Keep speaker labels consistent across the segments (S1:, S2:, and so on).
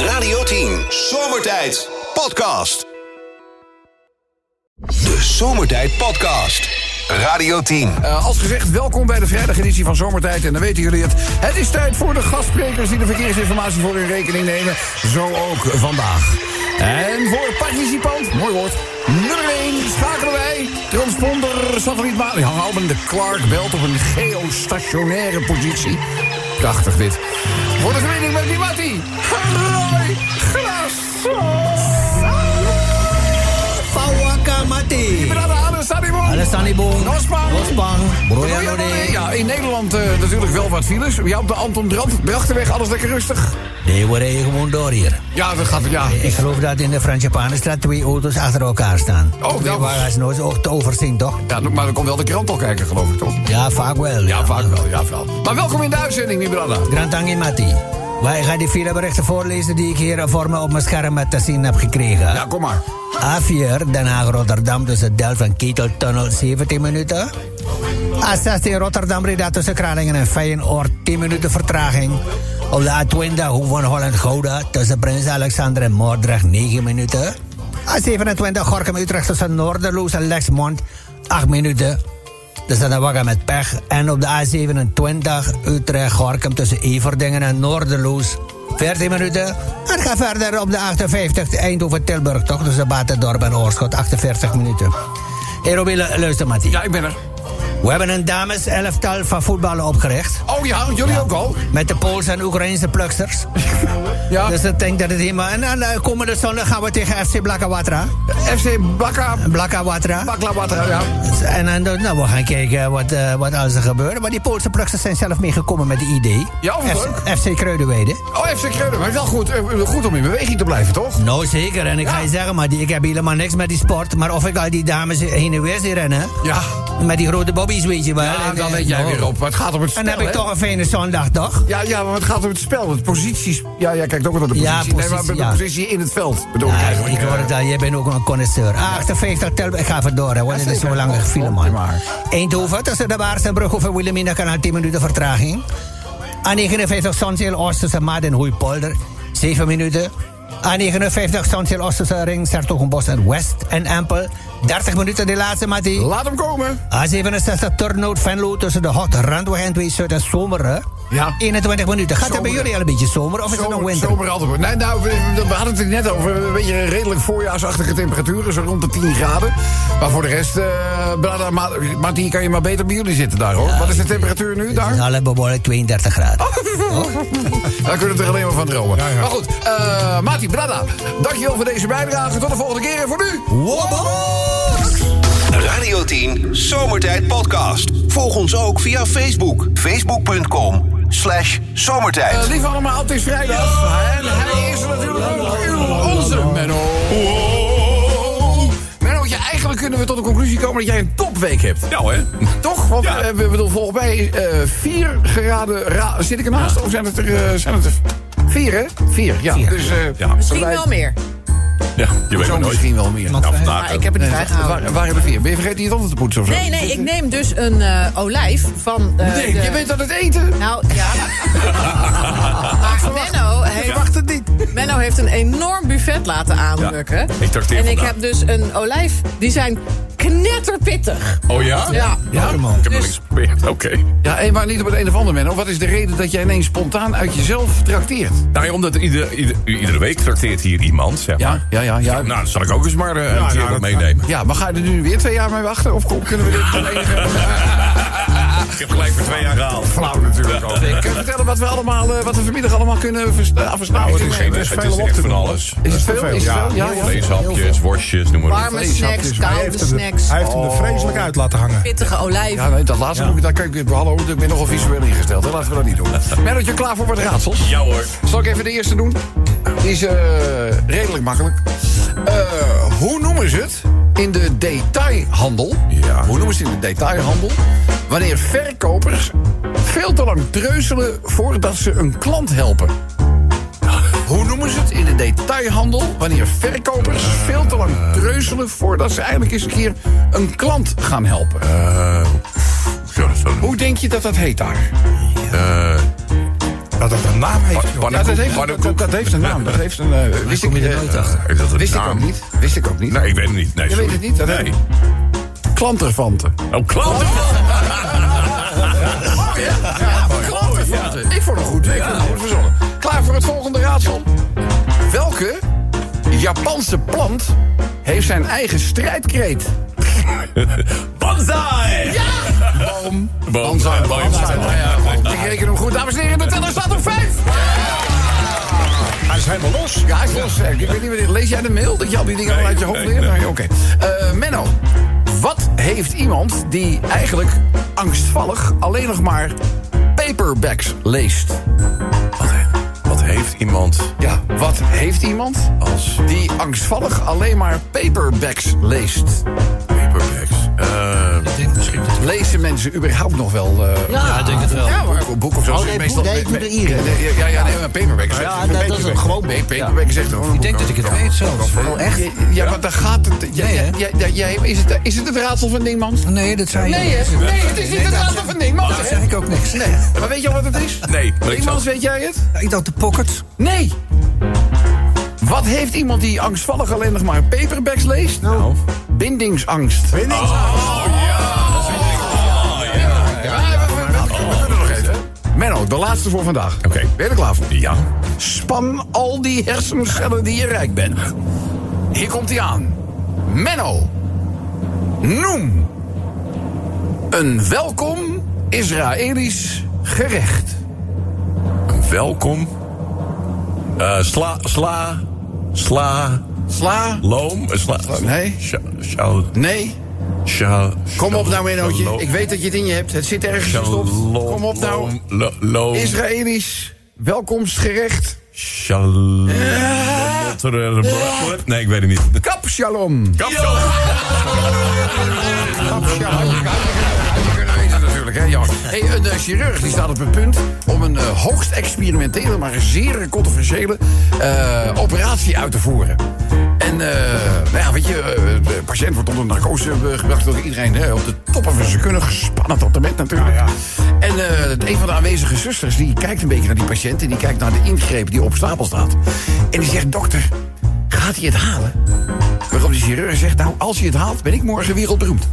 S1: 10. Zomertijd Podcast. De Zomertijd Podcast. Radio 10.
S2: Eh, als gezegd, welkom bij de vrijdageditie van Zomertijd. En dan weten jullie het. Het is tijd voor de gastsprekers die de verkeersinformatie voor hun rekening nemen. Zo ook vandaag. En voor participant, mooi woord, nummer 1 schakelen wij transponder satellietmaat. Hangalben de Clark belt op een geostationaire positie. Prachtig dit. Voor de verbinding met Dimati, Roy
S3: Pawaka mati. Alessandibong.
S2: Nospang.
S3: Nospang. Broya Nore.
S2: Ja, in Nederland eh, natuurlijk wel wat files. Ja, op de Anton Brandt, Brachtenweg, alles lekker rustig.
S3: Nee, we reden gewoon door hier.
S2: Ja, dat gaat, ja.
S3: Ik geloof dat in de Fransje Panenstraat twee auto's achter elkaar staan.
S2: Oh,
S3: Twee
S2: nou.
S3: wagens nooit ook te overzien, toch?
S2: ja maar dan komt wel de krant al kijken, geloof ik, toch?
S3: Ja, vaak wel.
S2: Ja, vaak wel, ja, wel. Maar welkom in de uitzending, Mibrada.
S3: Grantangi Mati. Wij gaan die fileberichten voorlezen die ik hier voor me op mijn scherm te zien heb gekregen.
S2: Ja, kom maar.
S3: A4, Den dus Haag-Rotterdam tussen Delft en Keteltunnel 17 minuten. A16 Rotterdam-Breda tussen Kralingen en Feyenoord 10 minuten vertraging. Op de A20 Hoek van Holland-Gouda tussen Prins Alexander en Moordrecht 9 minuten. A27 Gorkum-Utrecht tussen Noorderloos en Lexmond 8 minuten. Dus dat is een wagen met pech. En op de A27 Utrecht-Gorkum tussen Everdingen en Noorderloos 14 minuten. En ga verder op de 58 Eindhoven-Tilburg toch tussen Batendorp en Oorschot 48 minuten. Hey Robby, lu- luister Mattie.
S2: Ja, ik ben er.
S3: We hebben een dames elftal van voetballen opgericht.
S2: Oh ja, jullie ook al?
S3: Met de Poolse en Oekraïnse pluksters.
S2: Ja.
S3: Dus ik denk dat het helemaal... En dan eh, komende zondag gaan we tegen FC Blakawatra.
S2: FC Bakka,
S3: Blakawatra.
S2: Baklawatra, ja.
S3: En dan, eh, nou, we gaan kijken wat, eh, wat alles er gebeurt. Maar die Poolse pluksters zijn zelf meegekomen met de idee.
S2: Ja, wat
S3: FC, FC Kruidenweide.
S2: Oh, FC Kreunen, maar wel goed, eh, goed om in beweging te blijven, toch?
S3: Nou, zeker. En ik
S2: Ja.
S3: ga je zeggen, maar die, ik heb helemaal niks met die sport. Maar of ik al die dames heen en weer zie rennen...
S2: Ja.
S3: Met die grote bobby's, weet je wel.
S2: Ja,
S3: En,
S2: dan
S3: eh,
S2: let jij
S3: nou,
S2: weer op. Maar het gaat om het spel,
S3: En dan heb ik
S2: hè?
S3: toch een fijne zondag, toch?
S2: Ja, ja, maar het gaat om het spel, het posities. Ja, jij kijkt ook naar de positie.
S3: Ja,
S2: nee, maar
S3: positie,
S2: de
S3: ja.
S2: positie in het veld, bedoel ik
S3: Ja,
S2: eigenlijk.
S3: ik hoor het al, jij bent ook een connoisseur. 58 tel, ik ga even door, hè, want
S2: Ja,
S3: dit is
S2: zeker.
S3: zo'n lange
S2: Klopt,
S3: file,
S2: klopt,
S3: man.
S2: maar.
S3: Eindhoven, tussen de Baars en Brugge over Willemina kanaal 10 minuten vertraging. A59 Zonsheel Oost tussen Maat en Hoeipolder, 7 minuten. A59 Zonsheel Oost tussen Ring, Sertogenbos en West en Empel, 30 minuten de laatste, Mattie.
S2: Laat hem komen.
S3: A67 Turnhout Venlo tussen de Hot Randweg en 2 Zuid en Zomeren.
S2: Ja.
S3: 21 minuten. Gaat het bij
S2: Zomeren.
S3: jullie al een beetje zomer of is het nog
S2: Zomer,
S3: winter?
S2: zomer altijd. Nee, nou, we, we hadden het er net over. Een beetje redelijk voorjaarsachtige temperaturen, zo rond de 10 graden. Maar voor de rest, eh Brada, Ma- Martien, kan je maar beter bij jullie zitten daar, hoor. Wat is de temperatuur nu daar?
S3: Het is al behoorlijk 32 graden. Oh.
S2: Daar kunnen we er alleen maar van dromen. Maar goed, eh Mati, Brada, dankjewel voor deze bijdrage. Tot de volgende keer en voor nu...
S1: Radio 10 Zomertijd Podcast. Volg ons ook via Facebook. Facebook.com slash
S2: Eh,
S1: zomertijd.
S2: lieve allemaal, het is vrijdag. En hij is er natuurlijk ook uw, onze Menno. Mennootje, eigenlijk kunnen we tot de conclusie komen dat jij een topweek hebt.
S4: Ja hè?
S2: Toch? Want
S4: Ja.
S2: eh, we bedoel, volgens mij eh, vier geraden... ra- zit ik ernaast? Of zijn het er, eh, zijn het er vier, hè? Vier, ja.
S3: Vier.
S2: Dus, eh,
S4: Ja.
S5: Misschien
S2: wij-
S5: wel meer.
S4: Ja, je weet
S2: Zo
S4: maar nooit.
S2: misschien wel meer.
S4: Nou,
S3: Ja,
S4: vandaag.
S5: Maar ik heb het niet
S2: Waar,
S5: bijgehouden.
S2: waar hebben we vier? Ben je vergeten je tanden te poetsen of zo?
S5: Nee, nee, ik neem dus een eh, olijf van. eh,
S2: Nee,
S5: de-
S2: je bent aan het eten.
S5: Nou ja. maar Menno heeft,
S2: het niet.
S5: Menno heeft een enorm buffet laten aanrukken.
S4: ik trakteer
S5: En ik
S4: vandaag.
S5: heb dus een olijf. Die zijn knetterpittig.
S4: Oh ja?
S5: Ja.
S2: Ja,
S4: Ik heb nog
S5: Dus-
S4: niks geprobeerd. Oké.
S2: Ja, en maar niet op het een of ander moment. Wat is de reden dat jij ineens spontaan uit jezelf trakteert?
S4: Nou ja, omdat ieder, ieder, u iedere week trakteert hier iemand, zeg
S2: Ja,
S4: maar.
S2: ja, ja, ja.
S4: Nou, dan zal ik ook eens maar eh, een
S2: nou,
S4: keer
S2: dat-
S4: wat meenemen.
S2: Ja, maar ga je er nu weer twee jaar mee wachten? Of kom- kunnen we dit volledig...
S4: Ik heb gelijk voor twee jaar gehaald.
S2: Flauw natuurlijk ook. Ik kan vertellen wat we allemaal, eh, wat we vanmiddag allemaal kunnen vers- eh, versnauwen.
S4: Nou, het is geen
S2: Er
S4: het
S2: veel
S4: is
S2: om
S4: echt
S2: te
S4: van
S2: doen.
S4: alles.
S2: Is het veel? Is het
S6: Ja,
S2: veel? Ja, ja.
S4: Vleeshapjes, worstjes, noem maar op.
S5: Warme
S2: vlees, hapjes,
S5: snacks,
S2: maar hij
S5: koude
S6: heeft hem er-
S5: snacks.
S6: Hij heeft hem er vreselijk uit laten hangen.
S5: Pittige olijf.
S2: Oh. Ja, nee, dat laatste moet ik, daar kan ik, hallo, ik ben nogal visueel ingesteld. Hè? Laten we dat niet doen. Merk je klaar voor wat raadsels?
S4: Ja hoor.
S2: Zal ik even de eerste doen? Die is eh, redelijk makkelijk. Eh, hoe noemen ze het in de detailhandel?
S4: Ja.
S2: Hoe noemen ze het in de detailhandel? Wanneer verkopers veel te lang treuzelen voordat ze een klant helpen. Hoe noemen ze het in de detailhandel? Wanneer verkopers veel te lang treuzelen voordat ze eindelijk eens een keer een klant gaan helpen.
S4: Eh, ja, dat is wel-
S2: Hoe denk je dat dat heet daar?
S4: eh,
S6: Dat het een naam heeft. joh.
S2: Ja, dat, heeft, dat, dat- dat heeft een naam. Dat heeft een, eh, wist ik,
S3: kom je er
S2: eh,
S3: nooit achter.
S4: Is dat een
S2: Wist ik
S4: naam?
S2: ook niet. Wist ik ook niet.
S4: Nee, ik weet het niet. Nee,
S2: Je
S4: sorry.
S2: weet het niet, dat
S4: Nee.
S2: Klanterfanten.
S4: Oh, klopt.
S2: Oh, Ik vond het goed. Ik vond het goed verzonnen. Klaar voor het volgende raadsel. Welke Japanse plant heeft zijn eigen strijdkreet?
S4: Banzai! Ja!
S2: Boom.
S4: Boom.
S2: Banzai.
S4: Ja,
S2: Banzai.
S4: banzai.
S2: Ja, ja. Ik reken hem goed. Dames en heren, de teller staat op vijf.
S6: Hij is helemaal los.
S2: Ja, hij is los. Ik weet niet wat dit- Lees jij de mail dat je al die dingen
S4: Nee,
S2: al uit je hoofd
S4: nee,
S2: leert?
S4: nee.
S2: Nee, Oké. Eh, Menno, wat heeft iemand die eigenlijk angstvallig alleen nog maar paperbacks leest?
S4: Wat, he- wat heeft iemand
S2: Ja, wat heeft iemand
S4: als
S2: die angstvallig alleen maar paperbacks leest?
S4: paperbacks? Eh,
S7: Ik denk misschien dat
S2: Lezen mensen überhaupt nog wel eh
S7: Ja, ik denk het wel.
S2: ja, maar, een boek of zo?
S3: Oh,
S2: is
S3: nee,
S2: meestal,
S3: boek- nee, doe de Ieren.
S2: Ja, ja, ja, ja, nee, maar paperback. zegt-
S3: Ja, dat- dat is een gewoon
S2: Nee,
S3: boek,
S2: paperback zegt gewoon een
S7: Ik denk
S2: boek.
S7: dat ik het weet zelfs.
S2: Ja,
S7: Oh, echt?
S2: Ja, ja, maar daar gaat het... Ja,
S7: Nee,
S2: ja,
S7: hè?
S2: ja, ja, jij- is, het, is het het raadsel van Dingmans?
S7: Nee, dat zei je
S2: Nee, hè?
S7: niet.
S2: Nee, het is niet het
S7: dat
S2: raadsel
S7: zeg-
S2: van Dingmans,
S7: Dat
S2: hè?
S7: zeg ik ook niks.
S2: Nee, maar weet je al wat het is?
S4: Nee, maar ik
S2: Dingmans,
S4: zal-
S2: weet jij het?
S7: Ik dacht de pocket.
S2: Nee. Wat heeft iemand die angstvallig alleen nog maar paperbacks leest? Nou. Bindingsangst. Oh, Menno, de laatste voor vandaag.
S4: Oké.
S2: Ben je er klaar voor?
S4: Ja.
S2: Span al die hersencellen die je rijk bent. Hier komt hij aan. Menno, noem een welkom Israëlisch gerecht.
S4: Welkom. Eh, sla, sla, sla,
S2: Sla?
S4: loom. eh, Sla,
S2: nee.
S4: Sha, sha,
S2: Nee?
S4: sha,
S2: Kom op nou,
S4: shalom-
S2: Mennootje. Ik weet dat je het in je hebt. Het zit ergens gestopt.
S4: shalom-
S2: Kom op nou.
S4: lo- Loom.
S2: Israëlisch welkomstgerecht.
S4: Shalom. Eh, Nee, ik weet het niet.
S2: Kap shalom.
S4: Kap zo.
S2: Kap shalom. natuurlijk, hè, jammer. Hey, een eh, chirurg die staat op het punt om een eh, hoogst experimentele, maar zeer controversiële eh, operatie uit te voeren. En, eh nou ja, weet je, eh, de patiënt wordt onder narcose eh, gebracht door iedereen hè, op de toppen van zijn kunnen, gespannen tot de met natuurlijk. En eh, een van de aanwezige zusters die kijkt een beetje naar die patiënt en die kijkt naar de ingreep die op stapel staat. En die zegt: Dokter, gaat hij het halen? Waarop die chirurg zegt: Nou, als hij het haalt, ben ik morgen wereldberoemd.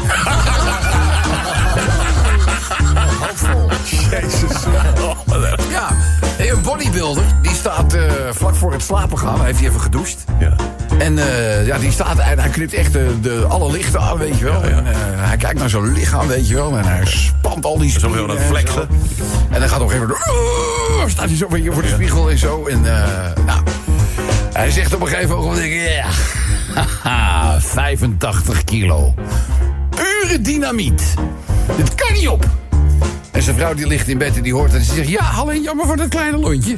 S2: Ja, hey, een bodybuilder die staat eh, vlak voor het slapen gaan. Hij heeft hij even gedoucht.
S4: Ja.
S2: En eh, ja, die staat en hij knipt echt de, de, alle lichten aan, weet je wel. En, eh, hij kijkt naar zijn lichaam, weet je wel. En hij spant al die
S4: ook heel
S2: spieren.
S4: dat
S2: en
S4: flexen.
S2: zo. En dan gaat op een gegeven moment... "Oeh", staat hij zo weer voor de spiegel en zo. En eh, nou, hij zegt op een gegeven moment... Ja, haha, 85 kilo. Pure dynamiet. Dit kan niet op. En zijn vrouw die ligt in bed en die hoort dat. En ze zegt, ja, alleen jammer voor dat kleine lontje.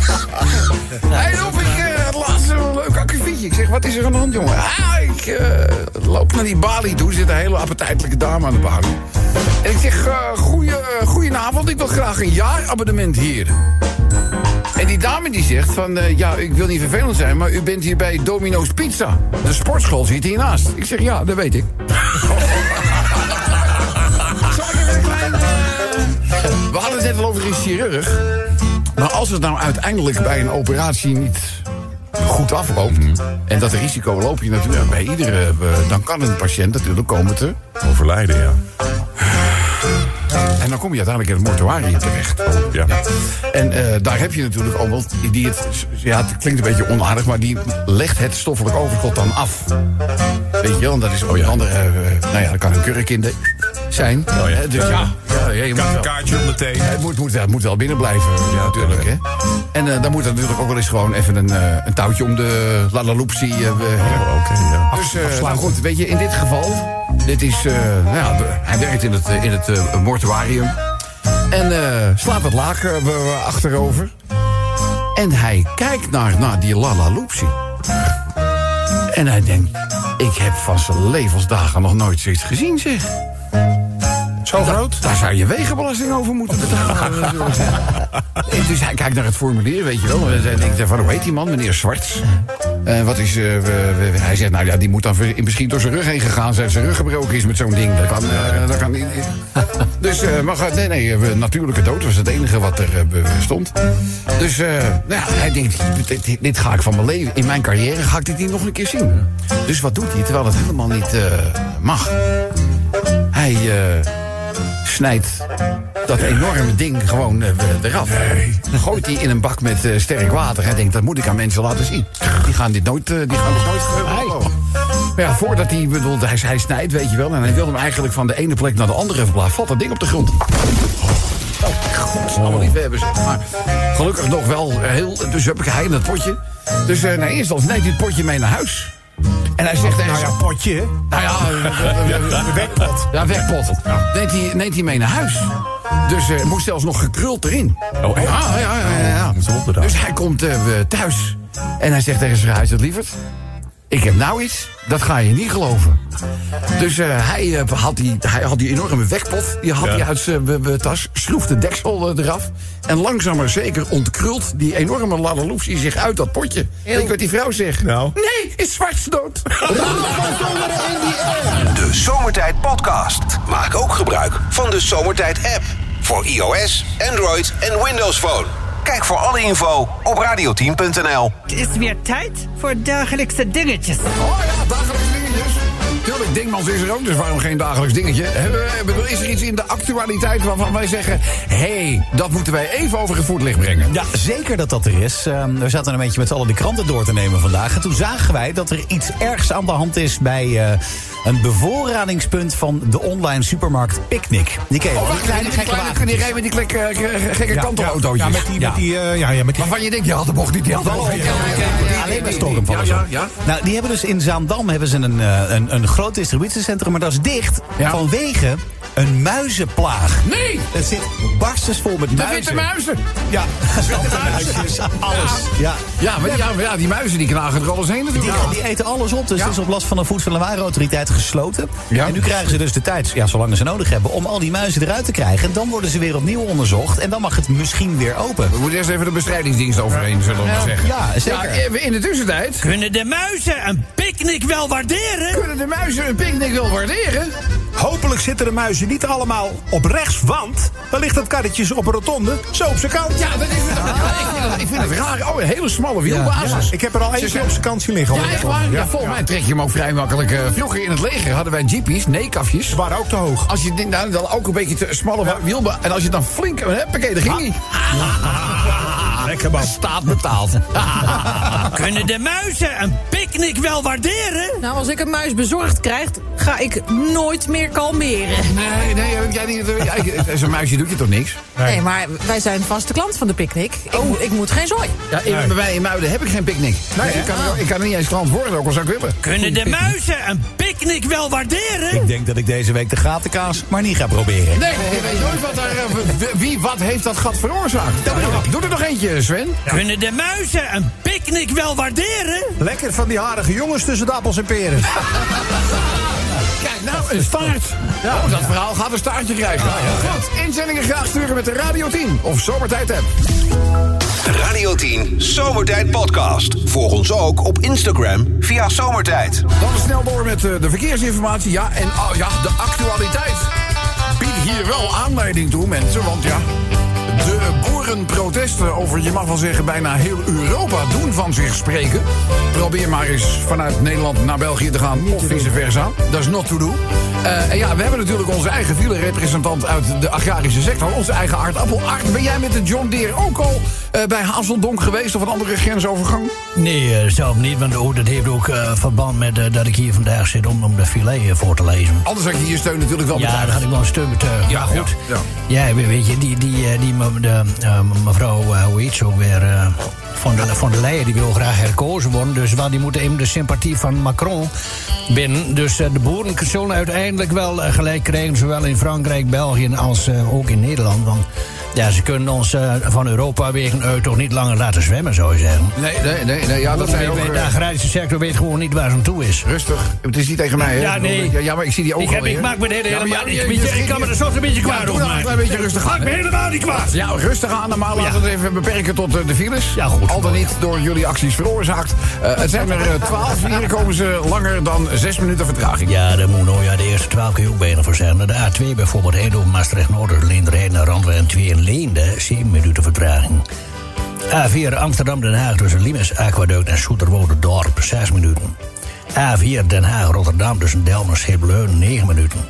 S2: Hij hey, op, ik, eh, het laatste wel een leuk akkefietje. Ik zeg, wat is er aan de hand, jongen? Ah, ik eh, loop naar die balie toe. Er zit een hele appetijtelijke dame aan de balie. En ik zeg, eh goeie, eh, goedenavond. Ik wil graag een jaarabonnement hier. En die dame die zegt van, eh, ja, ik wil niet vervelend zijn... maar u bent hier bij Domino's Pizza. De sportschool zit hiernaast. Ik zeg, ja, dat weet ik. Zal ik even een klein... eh, We hadden het net al over een chirurg. Maar als het nou uiteindelijk bij een operatie niet goed afloopt... en dat risico loop je natuurlijk bij iedere... eh, dan kan een patiënt natuurlijk komen te...
S4: Overlijden, ja.
S2: en dan kom je uiteindelijk in het mortuarium terecht.
S4: Ja.
S2: En eh, daar heb je natuurlijk ook wel die het... Ja, het klinkt een beetje onaardig, maar die legt het stoffelijk overschot dan af. Weet je wel, en dat
S4: Oh
S2: is onder andere... eh, nou ja, dat kan een kurkinde zijn.
S4: Oh ja.
S2: Hè, Dus ja, ja, je moet wel-
S4: Kaartje op de thee.
S2: Het moet, moet, het moet wel binnen blijven, ja, natuurlijk. Hè? En eh, dan moet er natuurlijk ook wel eens gewoon even een, eh, een touwtje om de lalaloopsie. eh we-
S4: Oh, Oké, ja.
S2: dus eh, nou goed, weet je, in dit geval, dit is, eh, nou ja, de- hij werkt in het, eh, in het eh, mortuarium. En eh, slaat het laag eh, we- we achterover. En hij kijkt naar, naar die lalaloopsie. En hij denkt, ik heb van zijn levensdagen nog nooit zoiets gezien, zeg.
S6: Zo groot?
S2: Daar zou je wegenbelasting over moeten betalen. natuurlijk. Nee, dus hij kijkt naar het formulier, weet je wel. En hij denkt eh, van, hoe heet die man? Meneer Zwarts. Eh, wat is, eh, we- we- we- hij zegt, nou ja, die moet dan ver- misschien door zijn rug heen gegaan zijn. Zijn rug gebroken is met zo'n ding. Dat kan, eh, dat kan niet. Dus, eh, maar ga- nee, nee, eh, natuurlijke dood was het enige wat er eh, be- stond. Dus, eh, nou ja, hij denkt, dit, dit- dit ga ik van mijn leven, in mijn carrière ga ik dit niet nog een keer zien. Dus wat doet hij, terwijl het helemaal niet eh, mag? Hij... eh, snijdt dat enorme ding gewoon eh, eraf. Gooit die in een bak met eh, sterk water. Hij denkt, dat moet ik aan mensen laten zien. Die gaan dit nooit, eh, die gaan dit nooit eh, geloven. Maar ja, voordat hij, bedoelt, hij, hij snijdt, weet je wel... en hij wil hem eigenlijk van de ene plek naar de andere verplaatsen... valt dat ding op de grond. Oh, god, allemaal niet dus- hebben zeg. Maar gelukkig nog wel heel... Dus heb ik hij in dat potje. Dus eh nou, eerst al snijdt hij het potje mee naar huis. En hij zegt tegen
S6: Nou ja,
S2: zijn-
S6: potje. hè?
S2: nou ja, de wegpot. Ja, wegpot. Neemt hij, neemt hij mee naar huis. Dus eh moest zelfs nog gekruld erin.
S4: Oh, echt?
S2: Ja, ja, ja. ja, ja.
S4: Moet ze opbedaan.
S2: Dus hij komt eh, thuis. En hij zegt tegen zijn huisarts, lieverd... Ik heb nou iets, dat ga je niet geloven. Dus eh, hij, eh, had die, hij had die enorme wekpot, die had
S4: Ja.
S2: hij uit zijn eh, eh, tas, sloeg de deksel eh, eraf... en langzaam maar zeker ontkrult die enorme ladaloepsie zich uit dat potje. Weet je wat die vrouw zegt?
S4: Nou.
S2: Nee, is zwarts dood.
S1: De Zomertijd Podcast. Maak ook gebruik van de Zomertijd app. Voor iOS, Android en Windows Phone. Kijk voor alle info op radio10.nl.
S8: Het is weer tijd voor dagelijkse dingetjes.
S2: Oh ja, dagelijks dingetjes. Tuurlijk, Dingmans is er ook, dus waarom geen dagelijks dingetje? Hebben we- bedoel, Is er iets in de actualiteit waarvan wij zeggen... hé, hey, dat moeten wij even over het voetlicht brengen?
S7: Ja, zeker dat dat er is. Ehm, we zaten een beetje met z'n allen de kranten door te nemen vandaag. En toen zagen wij dat er iets ergs aan de hand is bij eh, een bevoorradingspunt van de online supermarkt Picnic. Die ken je wel,
S2: Oh,
S7: die
S2: wacht,
S7: kleine gekke
S2: kleine, die
S7: wagentjes.
S2: rijden met die klekke, eh, gekke
S7: Ja,
S2: kantelautootjes.
S6: Ja, met die, met die, eh, ja, ja, met die...
S2: Waarvan je denkt, je had de bocht niet, die had de bocht niet.
S7: Alleen maar storm van
S2: Ja, ja, ja.
S7: Nou, die hebben dus in Zaandam hebben ze een, eh, een, een groot distributiecentrum, maar dat is dicht
S2: Ja.
S7: vanwege een muizenplaag.
S2: Nee!
S7: Het zit barstens vol met
S2: De
S7: muizen.
S2: witte muizen!
S7: Ja, muisjes, alles. Ja.
S2: Ja, maar, die- ja, maar ja, die muizen die knagen er alles heen
S7: Die,
S2: natuurlijk.
S7: die eten alles op, dus
S2: Ja.
S7: het is op last van de Voedsel- en Warenautoriteit gesloten.
S2: Ja.
S7: En nu krijgen ze dus de tijd, ja, zolang ze nodig hebben, om al die muizen eruit te krijgen. En dan worden ze weer opnieuw onderzocht en dan mag het misschien weer open.
S2: We moeten eerst even de bestrijdingsdienst overheen, zullen we maar zeggen.
S7: ja, zeker.
S2: Ja, in de tussentijd
S9: Kunnen de muizen een picknick wel waarderen?
S2: kunnen de muizen een picknick wel waarderen.
S6: Hopelijk zitten de muizen niet allemaal op rechts, want dan ligt het karretje op een rotonde, zo op zijn kant.
S2: Ja, dat is het.
S7: Ah.
S2: Ja, ik, vind het ik vind het raar. Oh, een hele smalle wielbasis.
S6: Ik heb er al eentje op zijn kant zien liggen.
S2: Ja,
S6: hoor.
S2: echt waar? Ja, volgens
S6: ja.
S2: mij trek je hem ook vrij makkelijk. eh, vroeger in het leger hadden wij jeepies, nee-kafjes.
S6: Ze waren ook te hoog.
S2: Als je dit nou, dan ook een beetje te smalle wielba... En als je dan flink... Huppakee, daar ging hij.
S6: Lekker man.
S2: Staat betaald.
S9: Kunnen de muizen een picknick wel waarderen?
S5: Nou, als ik een muis bezorgd krijg, ga ik nooit meer kalmeren.
S2: nee, nee, heb jij niet... ja, ik- eh, Zo'n muisje doet je toch niks?
S5: Nee, maar wij zijn vaste klant van de picknick. Ik, moet- ik moet geen zooi.
S2: Oh. Ja, in, bij mij in Muiden heb ik geen picknick. Nee, ik, kan, er- ik kan er niet eens klant worden, ook al zou ik willen.
S9: Kunnen de muizen een picknick wel waarderen?
S7: Ik denk dat ik deze week de gatenkaas maar niet ga proberen.
S2: Nee, je weet nooit wat daar... eh, Wie wat heeft dat gat veroorzaakt? Dat bedoel ik. Doe er nog eentje, Sven.
S9: Kunnen de muizen een picknick wel waarderen?
S6: Lekker van die harige jongens tussen de appels en peren.
S2: Kijk, nou, een staart. Oh, dat verhaal gaat een staartje krijgen. Goed, inzendingen graag sturen met de Radio 10 of Zomertijd app.
S1: De Radio 10 Zomertijd Podcast. Volg ons ook op Instagram via Zomertijd.
S2: Dan snel door met eh, de verkeersinformatie. Ja, en oh, ja, de actualiteit biedt hier wel aanleiding toe, mensen. Want ja, de boerenprotesten over, je mag wel zeggen, bijna heel Europa doen van zich spreken. Probeer maar eens vanuit Nederland naar België te gaan, of vice versa. Dat is not to do. Eh, en ja, we hebben natuurlijk onze eigen file-representant uit de agrarische sector. Onze eigen aardappel. Aard, ben jij met de John Deere ook al eh, bij Hazeldonk geweest of een andere grensovergang?
S9: Nee, eh, zelf niet, want dat heeft ook eh, verband met dat ik hier vandaag zit om, om de filet eh, voor te lezen.
S2: Anders had je je steun natuurlijk wel
S9: Ja,
S2: betuigd.
S9: daar had ik wel een steun betuigd.
S2: Ja,
S9: maar goed.
S2: ja,
S9: Ja, we- weet je, die, die, eh, die me- de, eh, mevrouw, eh, hoe heet ze ook weer, eh, van, de, van der Leyen, die wil graag herkozen worden. Dus waar die moet even de sympathie van Macron binnen. Dus eh, de boeren zullen uiteindelijk wel eh, gelijk krijgen, zowel in Frankrijk, België als eh, ook in Nederland. Want
S10: Ja, ze kunnen ons eh, van Europa wegen EU toch niet langer laten zwemmen, zou je zeggen.
S2: Nee, nee, nee, nee. Ja, dat zijn ook...
S10: de
S2: eh,
S10: agrarische sector weet gewoon niet waar ze aan toe is.
S2: Rustig. Het is niet tegen mij, hè?
S10: Ja, nee.
S2: Ja, maar ik zie die ook
S10: Ik, heb, ik maak me de hele helemaal niet. Ik, ik kan me er soms een beetje
S2: Ja,
S10: kwaad
S2: doe
S10: over
S2: nou een klein
S10: maken.
S2: beetje rustig aan.
S10: Maak me
S2: hè.
S10: helemaal niet kwaad.
S2: Ja, rustig aan, maar laten we
S10: Ja.
S2: het even beperken tot eh, de files.
S10: Ja, goed.
S2: Al dan niet door jullie acties veroorzaakt. Eh, het zijn er twaalf, hier komen ze langer dan zes minuten vertraging.
S10: Ja, de Moeno, nou, ja, de eerste 12 kun je ook bijna voor zijn. De A2 bijvoorbeeld, Eindhoven, Maastricht, Noorder, Leenderen, naar Randwijk en 2 in Leende, 7 minuten vertraging. A4 Amsterdam, Den Haag tussen Limes, Aquaduct en Soeterwoude Dorp, 6 minuten. A4 Den Haag, Rotterdam tussen Delft en Schipleun, 9 minuten.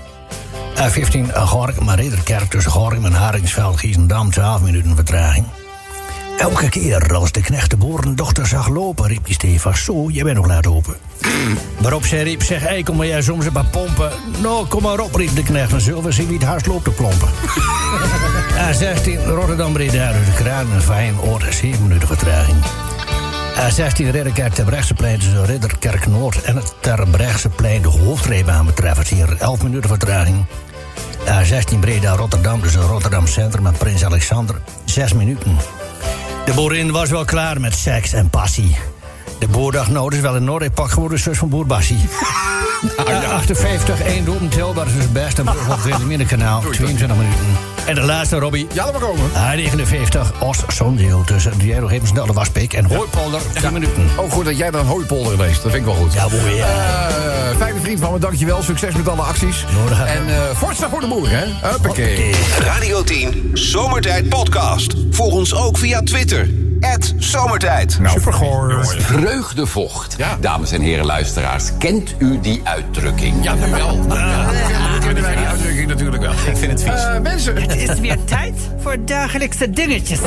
S10: A15 Gorkum, maar Ridderkerk tussen Gorkum en Haringsveld, Giesendam, 12 minuten vertraging. Elke keer als de knecht de boerendochter zag lopen, riep hij stevast... Zo, jij bent nog laat open.
S2: Oh.
S10: Waarop zij riep, zeg, hey, kom maar jij soms een paar pompen. Nou, kom maar op, riep de knecht, dan zullen we zien wie het hardst loopt te klompen. A16 Rotterdam-Breda, dus de kraan en fijn oor, 7 minuten vertraging. A16 Eh, Ridderkerk Terbrechtseplein tussen dus Ridderkerk Noord en het Terbrechtseplein de hoofdrijbaan betreft. Hier 11 minuten vertraging. A16 Breda Rotterdam tussen Rotterdam Centrum en Prins Alexander 6 minuten. De boerin was wel klaar met seks en passie. De boer dacht, nou, dat is wel een Noordepak geworden, zus van boer Bassie. Nou Ja, 58, 1 doelpunt Tilburg is dus best. En Brugge op het middenkanaal, 22 minuten. En de laatste, Robbie. Ah,
S2: Ja, laat maar komen.
S10: H59, Oost Sondeel tussen Diero Hevensdal, de Waspik en Hooipolder, 10 minuten.
S2: Ook Oh, goed dat jij dan hooipolder geweest. Dat vind ik wel goed.
S10: Ja, mooi, ja.
S2: Eh, fijne vriend van me, dankjewel. Succes met alle acties.
S10: Nou, daar-
S2: en eh Forza voor de boer, hè? Hoppakee.
S1: Radio 10, Zomertijd Podcast. Volg ons ook via Twitter. Zomertijd.
S11: Supergoor.
S12: Vreugdevocht.
S2: Nou, Ja.
S12: Dames en heren luisteraars, kent u die uitdrukking?
S2: Ja, nu wel. Dat kunnen wij die uitdrukking natuurlijk wel. Eh, Ik vind het vies. mensen,
S13: Het is weer tijd voor dagelijkse dingetjes.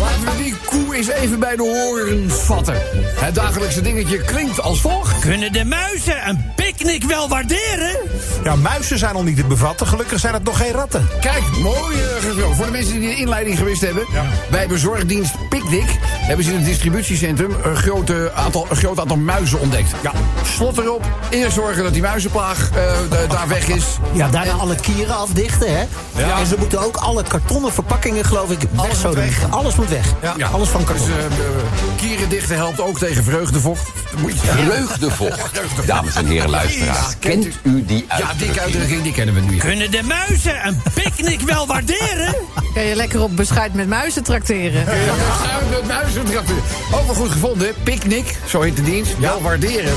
S2: laten we die koe eens even bij de horens vatten. Het dagelijkse dingetje klinkt als volgt.
S10: Kunnen de muizen een picknick wel waarderen?
S11: Ja, muizen zijn al niet te bevatten. Gelukkig zijn het nog geen ratten.
S2: Kijk, mooi eh, gesproken. Voor de mensen die de inleiding gewist hebben. Bij bezorgdienst Picnic hebben ze in het distributiecentrum een, grote aantal, een groot aantal muizen ontdekt. Ja. Slot erop. Eerst zorgen dat die muizenplaag eh, d- daar weg is.
S8: Ja, daarna alle kieren afdichten, hè? En ze moeten ook alle kartonnen verpakkingen, geloof ik, weg zo doen. Alles moet weg. Alles van
S2: Dus
S8: karton.
S2: eh, eh, kieren dichten helpt ook tegen vreugdevocht. Moet je-
S12: Vreugdevocht. Dames en heren luisteraars,
S2: Jezus, kent
S12: kent u die
S2: Ja, die
S12: uitdrukking?
S2: uitdrukking die kennen we nu.
S10: Kunnen de muizen een picknick wel waarderen?
S5: Kan je lekker op beschuit met muizen tracteren?
S2: Ja, de muizentractor. Ook wel goed gevonden. Picnic, zo heet de dienst. Wel waarderen.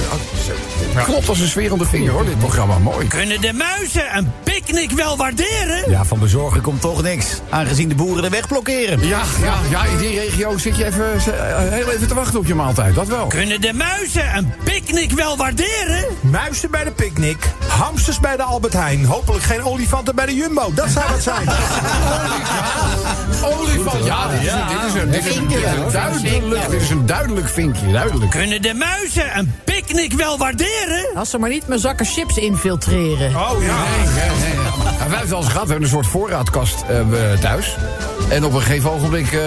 S2: Oh, Klopt als een sfeer onder vinger hoor, dit programma. Mooi.
S10: Kunnen de muizen een picknick wel waarderen?
S7: Ja, van bezorgen komt toch niks. Aangezien de boeren de weg blokkeren.
S2: Ja, ja, ja, in die regio zit je even, eh, heel even te wachten op je maaltijd. Dat wel.
S10: Kunnen de muizen een picknick wel waarderen?
S11: Muizen bij de picknick. Hamsters bij de Albert Heijn. Hopelijk geen olifanten bij de Jumbo. Dat zou wat zijn.
S2: Ah. Olifant. Ja, dit is een, dit is een, dit is een, dit is een duidelijk, dit is een duidelijk vinkje. Duidelijk.
S10: Kunnen de muizen een picknick wel waarderen?
S5: Als ze maar niet mijn zakken chips infiltreren.
S11: Oh ja.
S2: Nee, nee, nee, nee. Nou, wij hebben het al eens gehad. We hebben een soort voorraadkast eh, we- thuis. En op een gegeven ogenblik eh,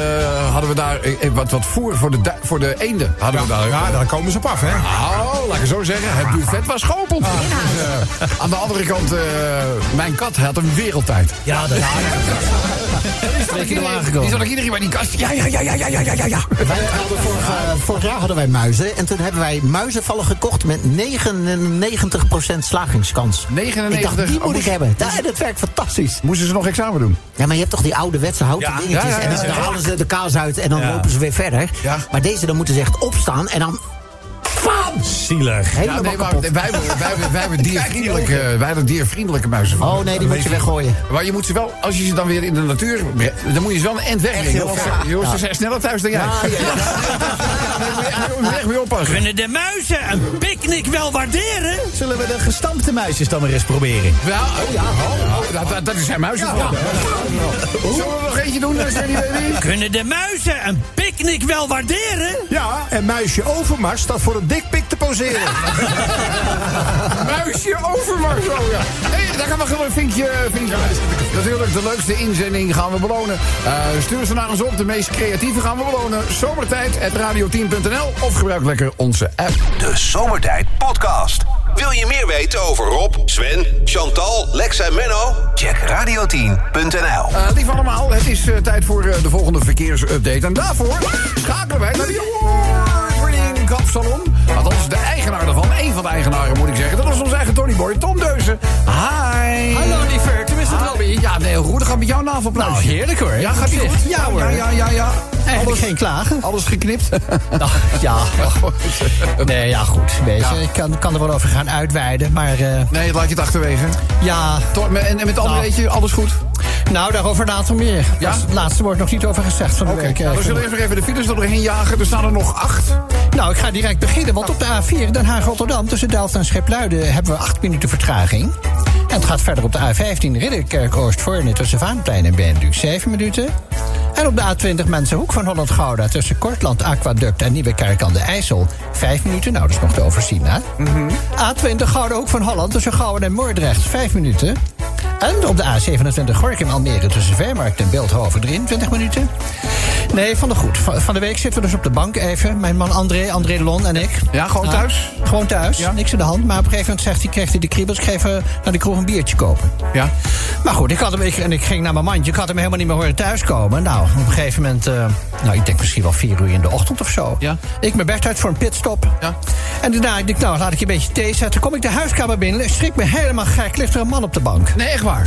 S2: hadden we daar eh, wat, wat voer voor de, du- voor de eenden. Hadden we daar.
S11: Ja, daar komen ze op af, hè?
S2: Oh, laat ik het zo zeggen. Het buffet was geopend. Dus, eh, aan de andere kant, eh, mijn kat had een wereldtijd.
S10: Ja, dat
S2: Die zat ook iedereen bij die kast. Ja, ja, ja, ja, ja, ja, ja, ja, ja.
S8: Wij hadden vorig, eh, vorig jaar hadden wij muizen. En toen hebben wij muizenvallen gekocht met 99% slagingskans.
S2: 99?
S8: Ik dacht, die
S2: Oh,
S8: moet ik
S2: moest-
S8: hebben. Ja, dat werkt fantastisch.
S2: Moesten ze nog examen doen?
S8: Ja, maar je hebt toch die ouderwetse houten
S11: Ja,
S8: dingetjes.
S2: ja, ja, ja,
S8: En dan,
S2: ja.
S8: halen ze de kaas uit en dan lopen ze weer verder.
S2: Ja.
S8: Maar deze, dan moeten ze echt opstaan en dan... Bam!
S7: Zielig.
S8: Helemaal
S2: nee, maar
S8: kapot.
S2: wij, wij, wij, wij, hebben diervriendelijke, wij hebben diervriendelijke muizen.
S8: Oh nee, die moet je weggooien.
S2: Maar je moet ze wel, als je ze dan weer in de natuur... brengt, dan moet je ze wel een end wegbrengen.
S8: heel
S2: Of ze-
S8: ver.
S2: Jongens, ze zijn sneller thuis dan jij. Ja, ja, Echt weer oppassen.
S10: Kunnen de muizen een picknick wel waarderen?
S7: Zullen we de gestampte muisjes dan maar eens proberen?
S2: Ja, oh, oh, oh, dat- dat, dat is zijn muizen. Zullen we nog eentje doen, eh, Sandy Baby?
S10: Kunnen de muizen een picknick wel waarderen?
S11: Ja, en muisje Overmars staat voor een dikpik te poseren.
S2: Muisje Overmars, oh ja. Hé, daar gaan we gewoon een vinkje, vinkje bij. Natuurlijk, de leukste inzending gaan we belonen. Eh, stuur ze naar ons op, de meest creatieve gaan we belonen. Zomertijd, radio10.nl of gebruik lekker onze app.
S1: De Zomertijd Podcast. Wil je meer weten over Rob, Sven, Chantal, Lex en Menno? Check radio10.nl.
S2: Eh, lief allemaal, het is eh, tijd voor eh, de volgende verkeersupdate. En daarvoor schakelen wij naar de award-winning kapsalon. Althans, de eigenaar ervan, één van de eigenaren moet ik zeggen. Dat is onze eigen Tony Boy, Tom Deuzen. Hi. Ah.
S9: Hallo liever, tenminste het Robbie.
S2: Ja, nee, hoe gaat het met jouw navelpluis?
S9: Nou, heerlijk hoor.
S2: Ja, gaat die
S9: Zeg,
S2: goed?
S9: ja, hoor.
S2: Ja, ja, ja. ja.
S9: Eigenlijk
S2: Alles,
S9: geen klagen.
S2: alles geknipt?
S9: Nou, ja, nee, ja, goed. Weet je, ik kan, kan er wel over gaan uitweiden. Maar eh,
S2: Nee, laat je het achterwege.
S9: ja,
S2: Toch, en, en met André,
S9: Nou.
S2: weet je, alles goed?
S9: nou, daarover later meer.
S2: Ja?
S9: Dat is Het laatste wordt nog niet over gezegd van de
S2: Oké,
S9: week. eh,
S2: nou, we zullen eerst nog even de files er doorheen jagen. Er staan er nog acht.
S9: Nou, ik ga direct beginnen, want op de A4 Den Haag-Rotterdam... tussen Delft en Schipluiden hebben we acht minuten vertraging. En het gaat verder op de A15 Ridderkerk-Oostvoorne... tussen Vaanplein en Beenduk, zeven minuten. En op de A20 Mensenhoek van Holland-Gouda... tussen Kortland, Aquaduct en Nieuwekerk aan de IJssel... vijf minuten, nou, dat is nog te overzien, hè? A20 Gouden Hoek van Holland tussen Gouden en Moordrecht, vijf minuten. En op de A27 Gorkum Almere tussen Veemarkt en Beeldhoven, 23 minuten. Nee, van de goed. Van van de week zitten we dus op de bank even. Mijn man André, André de Lon en ik.
S2: Ja, gewoon
S9: Ah,
S2: thuis?
S9: Gewoon thuis,
S2: Ja.
S9: niks in de hand. Maar op een gegeven moment zegt hij, kreeg hij de kriebels. Ik ga even naar de kroeg een biertje kopen.
S2: Ja.
S9: Maar goed, ik, had hem, ik, en ik ging naar mijn mandje. Ik had hem helemaal niet meer horen thuiskomen. Nou, op een gegeven moment, eh, nou, ik denk misschien wel vier uur in de ochtend of zo.
S2: Ja.
S9: Ik mijn best uit voor een pitstop.
S2: Ja.
S9: En daarna ik denk nou, laat ik een beetje thee zetten. Kom ik de huiskamer binnen, ik schrik me helemaal gek. Ligt er een man op de bank.
S2: Nee, echt waar.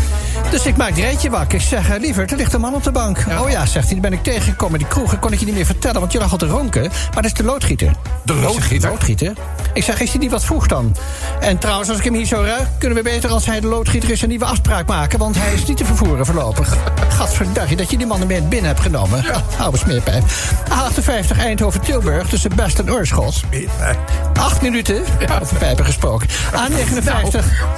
S9: Dus ik maak Reetje wakker. Ik zeg, eh, lieverd, er ligt een man op de bank. Oh ja, zegt hij, die ben ik tegengekomen. Die kroegen kon ik je niet meer vertellen, want je lag al te ronken. Maar dat is de loodgieter.
S2: De
S9: Ik zeg,
S2: loodgieter?
S9: loodgieter? Ik zeg, is hij niet wat vroeg dan? En trouwens, als ik hem hier zo ruik, kunnen we beter als hij de loodgieter is... een nieuwe afspraak maken, want hij is niet te vervoeren voorlopig. Gadverdag, dat je die man ermee binnen hebt genomen. Ja. Oude smeerpijp. A58 Eindhoven-Tilburg tussen Best en Oorschot. Acht minuten. Over pijpen gesproken. A59,
S2: Nou.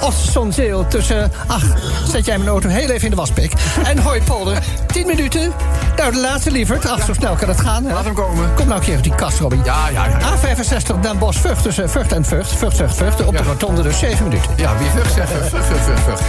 S9: Ossonzeel tussen... Ach, zet jij mijn auto heel even in de waspik. En Hooipolder, 10 minuten. Nou, de laatste lieverd. Ach, zo snel kan het gaan. hè.
S2: Laat hem komen.
S9: Kom nou een keer op die kast, Robby.
S2: Ja, ja, ja.
S9: A65, Den Bosch, Vught tussen Vught en Vught. Vught, Vught, Vught. Op de
S2: Ja.
S9: rotonde dus 7 minuten.
S2: Ja, wie vug zegt, vug, vug, vug, vug.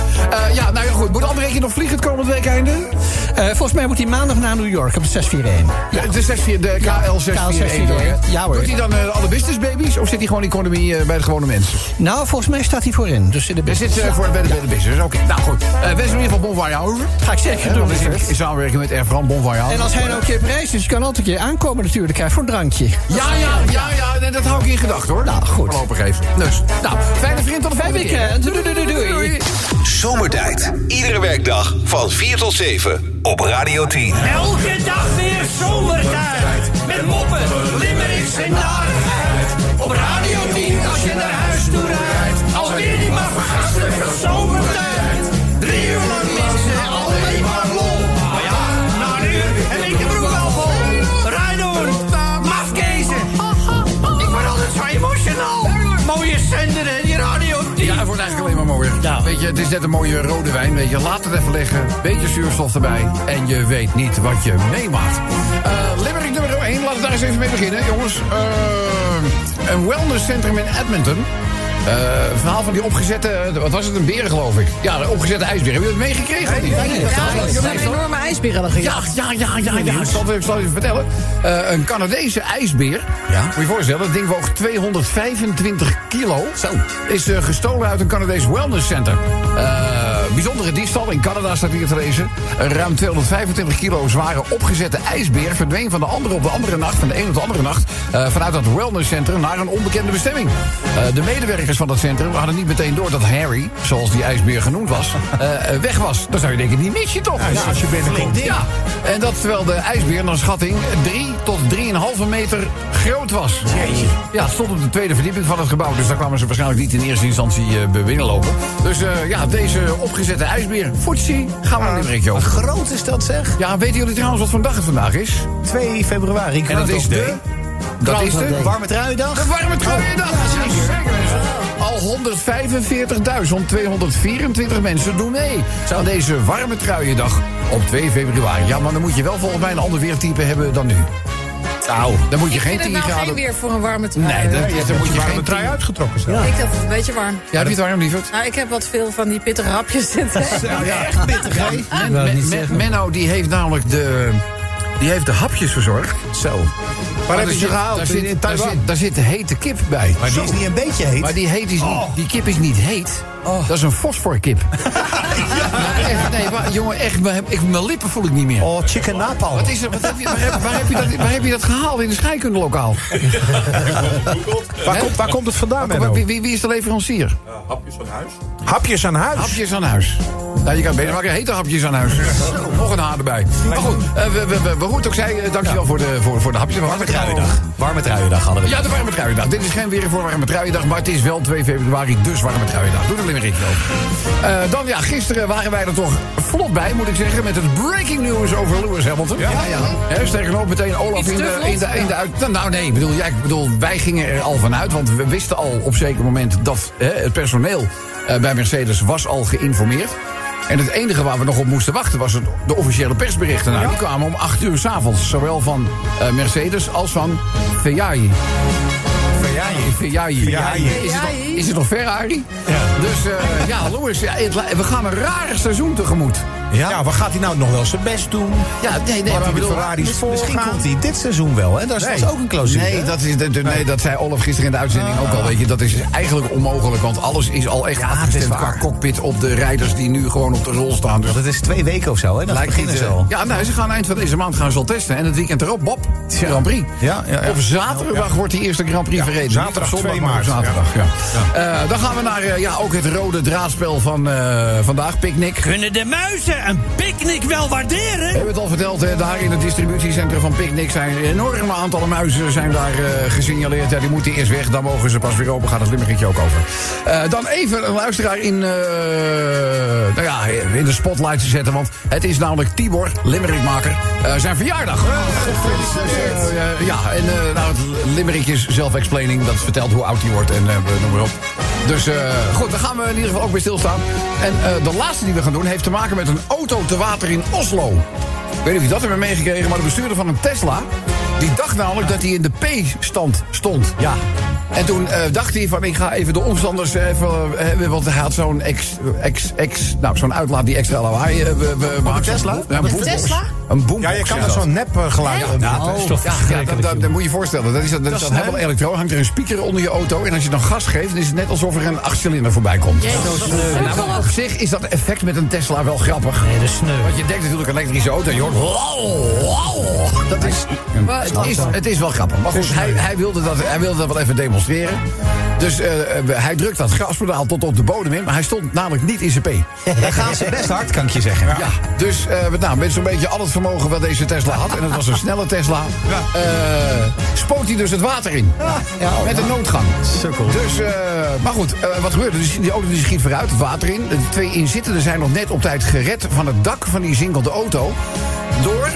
S2: Eh, ja, nou ja, goed. Moet André nog vliegen het komend weekende?
S9: Eh, volgens mij moet hij maandag naar New York op de 641.
S2: Ja, de, 64 de KL641.
S9: Ja, hoor.
S2: Doet hij dan eh, alle business babies of zit hij gewoon economie eh, bij de gewone mensen?
S9: Nou, volgens mij staat hij voorin. Dus in de
S2: Hij zit
S9: business.
S2: eh, voor bij de, bij de business. Oké, nou goed. Eh wens hem in ieder geval bon voyage over.
S9: Ga ik zeker
S2: Hè,
S9: doen,
S2: want we
S9: lieverd.
S2: zitten in samenwerking met Air France, bon voyage.
S9: En als hij nou een keer op reis is, kan hij altijd een keer aankomen natuurlijk. Hij voor een drankje.
S2: Ja, ja, ja, ja. Nee, dat hou ik in gedachten, hoor.
S9: Nou, goed.
S2: Voorlopig even. Dus, nou, fijne vriend tot de
S9: Fijn
S2: volgende keer.
S9: weekend. Doei, doei, doei, doei.
S1: Zomertijd. Iedere werkdag van 4 tot 7 op Radio 10.
S11: Elke dag weer zomertijd. Met moppen, limmerings en narigheid. Op Radio 10 als je naar huis toe rijdt. Alweer die maar vergasten zomertijd. Drie uur lang mensen, alleen maar lol. Maar ja, na een uur heb ik de broek al vol. Rijdoen, mafkezen. Ik word altijd zo emotional. Mooie zender en die Radio 10.
S2: Ja, het wordt eigenlijk alleen maar mooier. Weet je, het is net een mooie rode wijn. Weet je, laat het even liggen. Beetje zuurstof erbij. En je weet niet wat je meemaakt. Eh Limerick nummer 1. Laten we daar eens even mee beginnen, jongens. Eh, een wellnesscentrum in Edmonton. Eh, verhaal van die opgezette... eh, Wat was het? Een beren, geloof ik. Ja, een opgezette ijsbeer. Hebben jullie het meegekregen? of niet?
S5: Er zijn enorme ijsberen gejaagd.
S2: Ja, ja, ja, ja, ja. Ik zal het ik zal het even vertellen. Eh, een Canadese ijsbeer.
S7: Ja.
S2: Moet je je voorstellen, dat ding woog 225 kilo.
S7: Zo.
S2: Is eh, gestolen uit een Canadees wellness center. Eh, bijzondere diefstal. In Canada staat hier te lezen. Een ruim 225 kilo zware opgezette ijsbeer verdween van de andere op de andere nacht, van de een op de andere nacht, eh, vanuit dat wellness center naar een onbekende bestemming. Eh, de medewerkers van dat centrum hadden niet meteen door dat Harry, zoals die ijsbeer genoemd was, eh, eh, weg was. Dan zou je denken, die mis je toch? Ja, als je binnenkomt. Ja, en dat terwijl de ijsbeer naar schatting 3 tot 3,5 meter groot was. Ja, het stond op de tweede verdieping van het gebouw. Dus daar kwamen ze waarschijnlijk niet in eerste instantie eh, binnenlopen. Dus eh, ja, deze opgezette ijsbeer. Foetsie, gaan we naar Limerickje
S7: Ah, Wat
S2: over.
S7: groot is dat zeg?
S2: Ja, weten jullie trouwens wat voor dag het vandaag is?
S7: 2 februari.
S2: En dat is de... Dat is de...
S7: Warme truiendag.
S2: De warme truiendag. Al 145.224 mensen doen mee aan deze warme truiendag op 2 februari. Ja, maar dan moet je wel volgens mij een ander weertype hebben dan nu. Nou, dan moet je
S5: Ik
S2: geen
S5: vind het
S2: 10
S5: nou
S2: graden...
S5: geen weer voor een warme trui.
S2: Nee, dan, dan moet je geen
S6: Mijn trui
S2: 10
S6: uitgetrokken zijn.
S5: Ik heb het een beetje warm.
S2: Ja, heb je het warm, lieverd?
S5: Nou, ik heb wat veel van die pittige hapjes zitten.
S2: Ja, echt pittig, hè? Men, Men- Men- Menno die heeft namelijk de
S11: Die heeft de hapjes verzorgd.
S2: Zo.
S11: Waar hebben ze gehaald?
S2: Daar
S11: In- in
S2: zit, daar,
S11: Taiwan.
S2: zit, daar zit hete kip bij.
S11: Maar die Zo. is niet een beetje heet.
S2: Maar die, heet is niet, die kip is niet heet. Dat is een fosforkip. Ja, echt, nee, maar, jongen, echt, mijn, ik, mijn lippen voel ik niet meer.
S7: Oh, chicken napalm.
S2: Wat is er, wat heb je, waar, heb, waar heb je dat, waar heb je dat gehaald in een scheikundelokaal?
S1: Waar, komt, waar komt het vandaan, Menno?
S2: Wie, wie, wie is de leverancier?
S14: Eh, Hapjes van huis.
S1: Hapjes aan huis.
S2: Hapjes aan huis. Nou, je kan het beter maken. Hete hapjes aan huis. Nog een haar erbij. Maar goed, eh, we, we, we, we- hoe het ook zei, eh, dankjewel voor, de, voor, voor de hapjes. Warme
S7: truiendag. Warme truiendag hadden we.
S2: Ja, de warme truiendag. Dit is geen weer voor warme truiendag, maar het is wel 2 februari, dus warme truiendag. Doe de limerick wel. Eh, dan, ja, gisteren waren wij er toch vlot bij, moet ik zeggen, met het breaking news over Lewis Hamilton. Ja, ja. Hè, sterker nog, meteen Olaf
S15: Iets
S2: in
S15: te
S2: de,
S15: vlot?
S2: in de, in de uit... Nou, nou, nee, ik bedoel, ja, ik bedoel, wij gingen er al vanuit, want we wisten al op zeker moment dat hè, het personeel eh, bij Mercedes was al geïnformeerd. En het enige waar we nog op moesten wachten was het, de officiële persberichten. Nou, die kwamen om 8 uur s'avonds, zowel van eh, Mercedes als van Ferrari. Ferrari. Ferrari.
S1: Ferrari.
S2: Is het nog- Is het nog Ferrari? Dus eh, ja, Lewis, ja, het li- we gaan een raar seizoen tegemoet.
S1: Ja, waar gaat hij nou nog wel zijn best doen?
S2: Ja, nee, nee,
S1: Laat
S2: maar
S1: hij de
S2: bedoel,
S1: Ferraris
S2: misschien-
S7: Misschien
S1: voorgaan?
S7: komt hij dit seizoen wel, hè? Daar is
S2: Nee.
S7: ook een clausule.
S2: Nee, dat, is, dat, nee, dat zei Olaf gisteren in de uitzending ook al. Weet je, dat is eigenlijk onmogelijk, want alles is al echt afgestemd
S7: waar.
S2: qua cockpit op de rijders die nu gewoon op de rol staan. Dus
S7: Dat is twee weken of zo, hè? Dan beginnen
S2: niet,
S7: ze
S2: eh,
S7: al.
S2: Ja, nou, ze gaan eind van deze maand gaan ze al testen. En het weekend erop, Bob, Grand Prix.
S7: Ja, ja, ja.
S2: Op zaterdag wordt die eerste Grand Prix verreden. Niet op
S1: zaterdag
S2: zondag,
S1: 2
S2: maar op
S1: maart.
S2: Zaterdag, ja. Eh, dan gaan we naar eh, ja, ook het rode draadspel van eh, vandaag, Picnic.
S16: Kunnen de muizen een picknick wel waarderen?
S2: We hebben het al verteld, hè, daar in het distributiecentrum van Picnic zijn enorme aantallen muizen zijn daar eh, gesignaleerd. Ja, die moeten eerst weg, dan mogen ze pas weer open. Gaat het limmeretje ook over. Eh, dan even een luisteraar in, eh, nou ja, in de spotlight te zetten. Want het is namelijk Tibor, limmerikmaker, eh, zijn verjaardag. Eh, eh, ja, en eh, nou, het limmerikje is self-explaining. Dat vertelt hoe oud hij wordt en eh, noem maar op. Dus eh, goed, daar gaan we in ieder geval ook bij stilstaan. En eh, de laatste die we gaan doen heeft te maken met een auto te water in Oslo. Ik weet niet of je dat hebt meegekregen, maar de bestuurder van een Tesla... die dacht namelijk dat hij in de P-stand stond. Ja. En toen eh, dacht hij van, ik ga even de omstanders even... eh, want hij had zo'n ex, ex, ex, nou, zo'n uitlaat die extra lawaai eh, be- be- maakt.
S7: Tesla?
S2: Ja, een
S15: Met
S2: boombox.
S15: Tesla?
S2: Een boombox.
S1: Ja, je kan
S2: ja.
S1: er zo'n nep eh, geluid op.
S2: Ja,
S7: dat is toch
S2: ja, ja, dat, dat, dat moet je je voorstellen. Dat is, dat, dat is
S7: is
S2: dan helemaal
S7: sneu.
S2: elektro. Hangt er een speaker onder je auto. En als je dan gas geeft, dan is het net alsof er een achtcilinder voorbij komt. Nou, maar op zich is dat effect met een Tesla wel grappig.
S17: Nee, dat is sneu.
S2: Want je denkt natuurlijk een elektrische auto. en Je hoort. wauw, wauw. Dat is, het, is, het is wel grappig. Maar goed, hij, hij, wilde dat, hij wilde dat wel even demonstreren. Dus eh, hij drukt dat gaspedaal tot op de bodem in. Maar hij stond namelijk niet in zijn P.
S7: Daar gaan ze best hard, kan ik je zeggen.
S2: Ja, dus eh, met, nou, met zo'n beetje al het vermogen wat deze Tesla had... en dat was een snelle Tesla... eh, spoot hij dus het water in. met een noodgang. Dus, eh, maar goed, eh, wat gebeurde? Dus die auto die schiet vooruit, het water in. De twee inzittenden zijn nog net op tijd gered... van het dak van die zinkelde auto... door,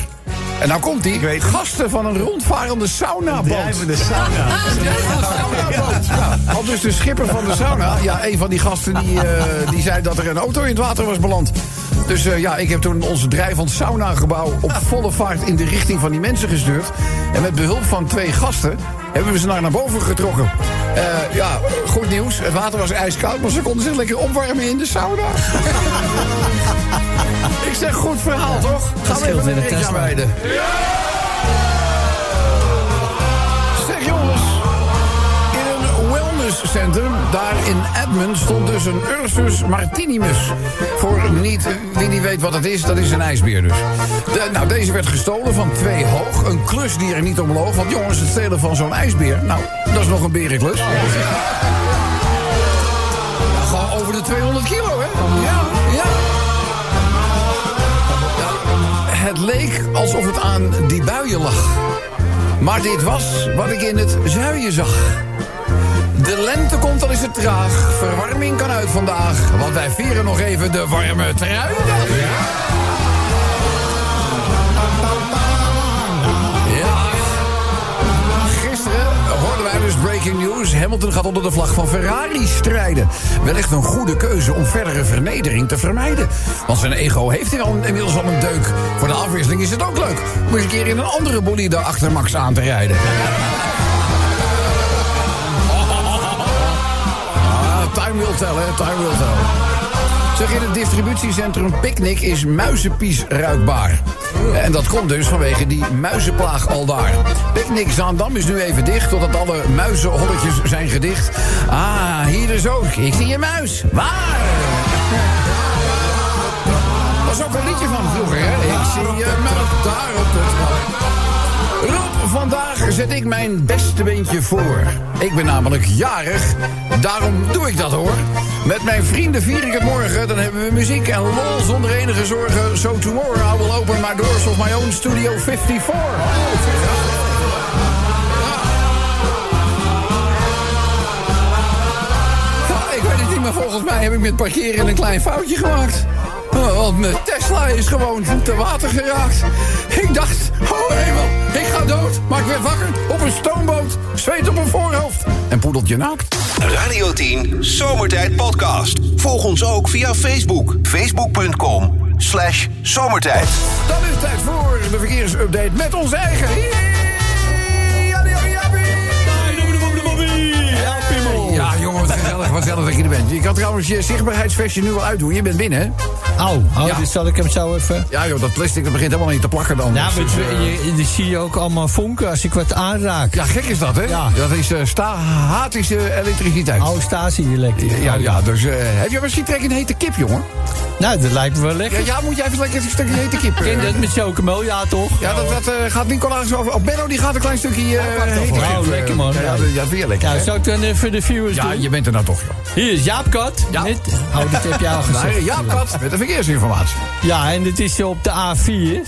S2: en nou komt die, gasten van een rondvarende saunaboot.
S7: de sauna.
S2: Ja, al dus de schipper van de sauna. Ja, een van die gasten die, eh, die zei dat er een auto in het water was beland. Dus eh, ja, ik heb toen onze drijvend saunagebouw op volle vaart in de richting van die mensen gestuurd. En met behulp van twee gasten hebben we ze naar, naar boven getrokken. Eh, ja, goed nieuws. Het water was ijskoud, maar ze konden zich lekker opwarmen in de sauna. ik zeg goed verhaal, toch? Gaan we
S17: scheelt
S2: even
S17: weer
S2: een
S17: de
S2: ritje
S17: Tesla.
S2: aanwijden. Zeg jongens, in een wellnesscentrum, daar in Edmund, stond dus een Ursus martinimus. Voor niet, wie niet weet wat dat is, dat is een ijsbeer dus. De- nou, deze werd gestolen van twee hoog. Een klus die er niet om loog. Want jongens, het stelen van zo'n ijsbeer, nou, dat is nog een berenklus. Nou, gewoon over de 200 kilo, hè? Ja, ja. Het leek alsof het aan die buien lag. Maar dit was wat ik in het zuien zag. De lente komt, al is het traag. Verwarming kan uit vandaag. Want wij vieren nog even de warme truiendag. Ja, Gisteren hoorden wij dus breaking news. Hamilton gaat onder de vlag van Ferrari strijden. Wellicht een goede keuze om verdere vernedering te vermijden. Want zijn ego heeft hij al inmiddels al een deuk. Voor de afwisseling is het ook leuk om eens een keer in een andere bolide achter Max aan te rijden. Ah, time will tell, hè? Time will tell. Zeg, in het distributiecentrum Picnic is muizenpies ruikbaar. En dat komt dus vanwege die muizenplaag al daar. Picnic Zaandam is nu even dicht, totdat alle muizenholletjes zijn gedicht. Ah, hier is ook. Ik zie een muis. Waar? Dat was ook een liedje van vroeger, hè? Ik zie je muis daar op de trap. Rob, vandaag zet ik mijn beste beentje voor. Ik ben namelijk jarig, daarom doe ik dat hoor. Met mijn vrienden vier ik het morgen, dan hebben we muziek en lol zonder enige zorgen. So tomorrow I will open my doors of my own studio 54. Ja, Ah, ik weet het niet, maar volgens mij heb ik met parkeren een klein foutje gemaakt. Eh, Want mijn Tesla is gewoon te water geraakt. Ik dacht, oh hemel, ik ga dood. Maar ik werd wakker op een stoomboot. Zweet op mijn voorhoofd. En poedeltje naakt.
S1: Radio 10 Zomertijd Podcast. Volg ons ook via Facebook. Facebook.com slash zomertijd.
S2: Dan is het tijd voor de verkeersupdate met ons eigen. Ja, jongen, wat gezellig, wat gezellig dat je er bent. Je kan trouwens je zichtbaarheidsvestje nu wel uitdoen. Je bent binnen, hè?
S9: Au, ja. dus zal ik hem zo even...
S2: Ja, joh, dat plastic dat begint helemaal niet te plakken dan.
S9: Ja, maar
S2: Dus, eh,
S9: je, je- je zie je ook allemaal vonken als ik wat aanraak.
S2: Ja, gek is dat, hè?
S9: Ja.
S2: Dat is eh, statische elektriciteit.
S9: Oh, statie-elektrisch.
S2: Ja, ja, dus eh, heb je misschien trek in een hete kip, jongen?
S9: Nou, dat lijkt me wel lekker.
S2: Ja, ja, moet jij even lekker een stukje hete kip... eh,
S9: Ken je dat met chocomel, ja toch?
S2: Ja, dat, dat eh, gaat Nicolaas over. Oh, Benno die gaat een klein stukje eh hete kip.
S9: Oh,
S2: eh,
S9: lekker man.
S2: Ja, ja, ja, weer lekker.
S9: Ja,
S2: hè?
S9: zou ik dan even de viewers
S2: ja
S9: doen?
S2: je bent er nou toch, joh.
S9: Hier is Jaap Kat. Met, oh, dat heb je al gezegd.
S2: Ja, Kat, met de verkeersinformatie.
S9: Ja, en het is eh, op de A4.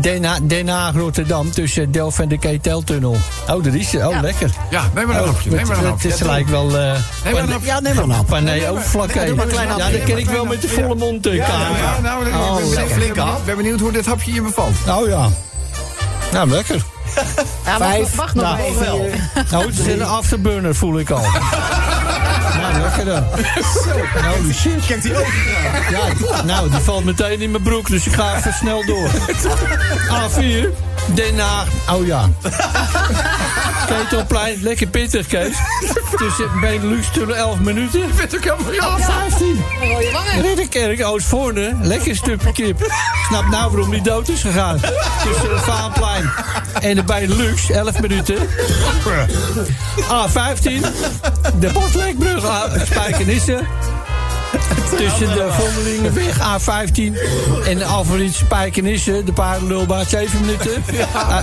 S9: Den, Ha- Den Haag, Rotterdam, tussen Delft en de Keteltunnel. Oh, dat is Oh, lekker.
S2: Ja, neem maar een
S9: Oh,
S2: hapje, neem
S9: het-
S2: maar een
S9: Het
S2: hapje.
S9: is
S2: Ja,
S9: gelijk wel... eh,
S2: Neem maar een hapje.
S9: Ja, neem maar een hap. Panee, overvlak
S2: Nee, doe maar een klein
S9: Ja,
S2: hapje.
S9: dat ken ik wel met de volle mond. eh, Karel.
S2: Ja, nou, ik
S9: Oh,
S2: ben,
S9: lekker.
S2: ben benieuwd- ben benieuwd hoe dit hapje je bevalt.
S9: Oh ja. Nou, lekker.
S5: Ja, wacht,
S9: Vijf.
S5: wacht nog
S9: Nou,
S5: even.
S9: Nou, het is een afterburner, voel ik al. nou, lekker dan. Zo, nou, die shit. Kijk die ook. Ja, nou, die valt meteen in mijn broek, dus ik ga even snel door. A4, Den Haag. Oh ja. Ketelplein, lekker pittig, Kees. Tussen Benelux tussen 11 minuten.
S2: Met de camera.
S9: 15.
S2: Oh,
S5: Rode wangen.
S9: Ridderkerk, Oostvoorne, lekker stukje kip. Snap nou waarom die dood is gegaan. Tussen de Vaanplein en de bij Lux, 11 minuten. A15, de Botlekbrug, A- Spijkenisse. Tussen de Vondelingenweg A15 en de Alfred Spijkenisse, de paardenlulbaat, 7 minuten. Ah,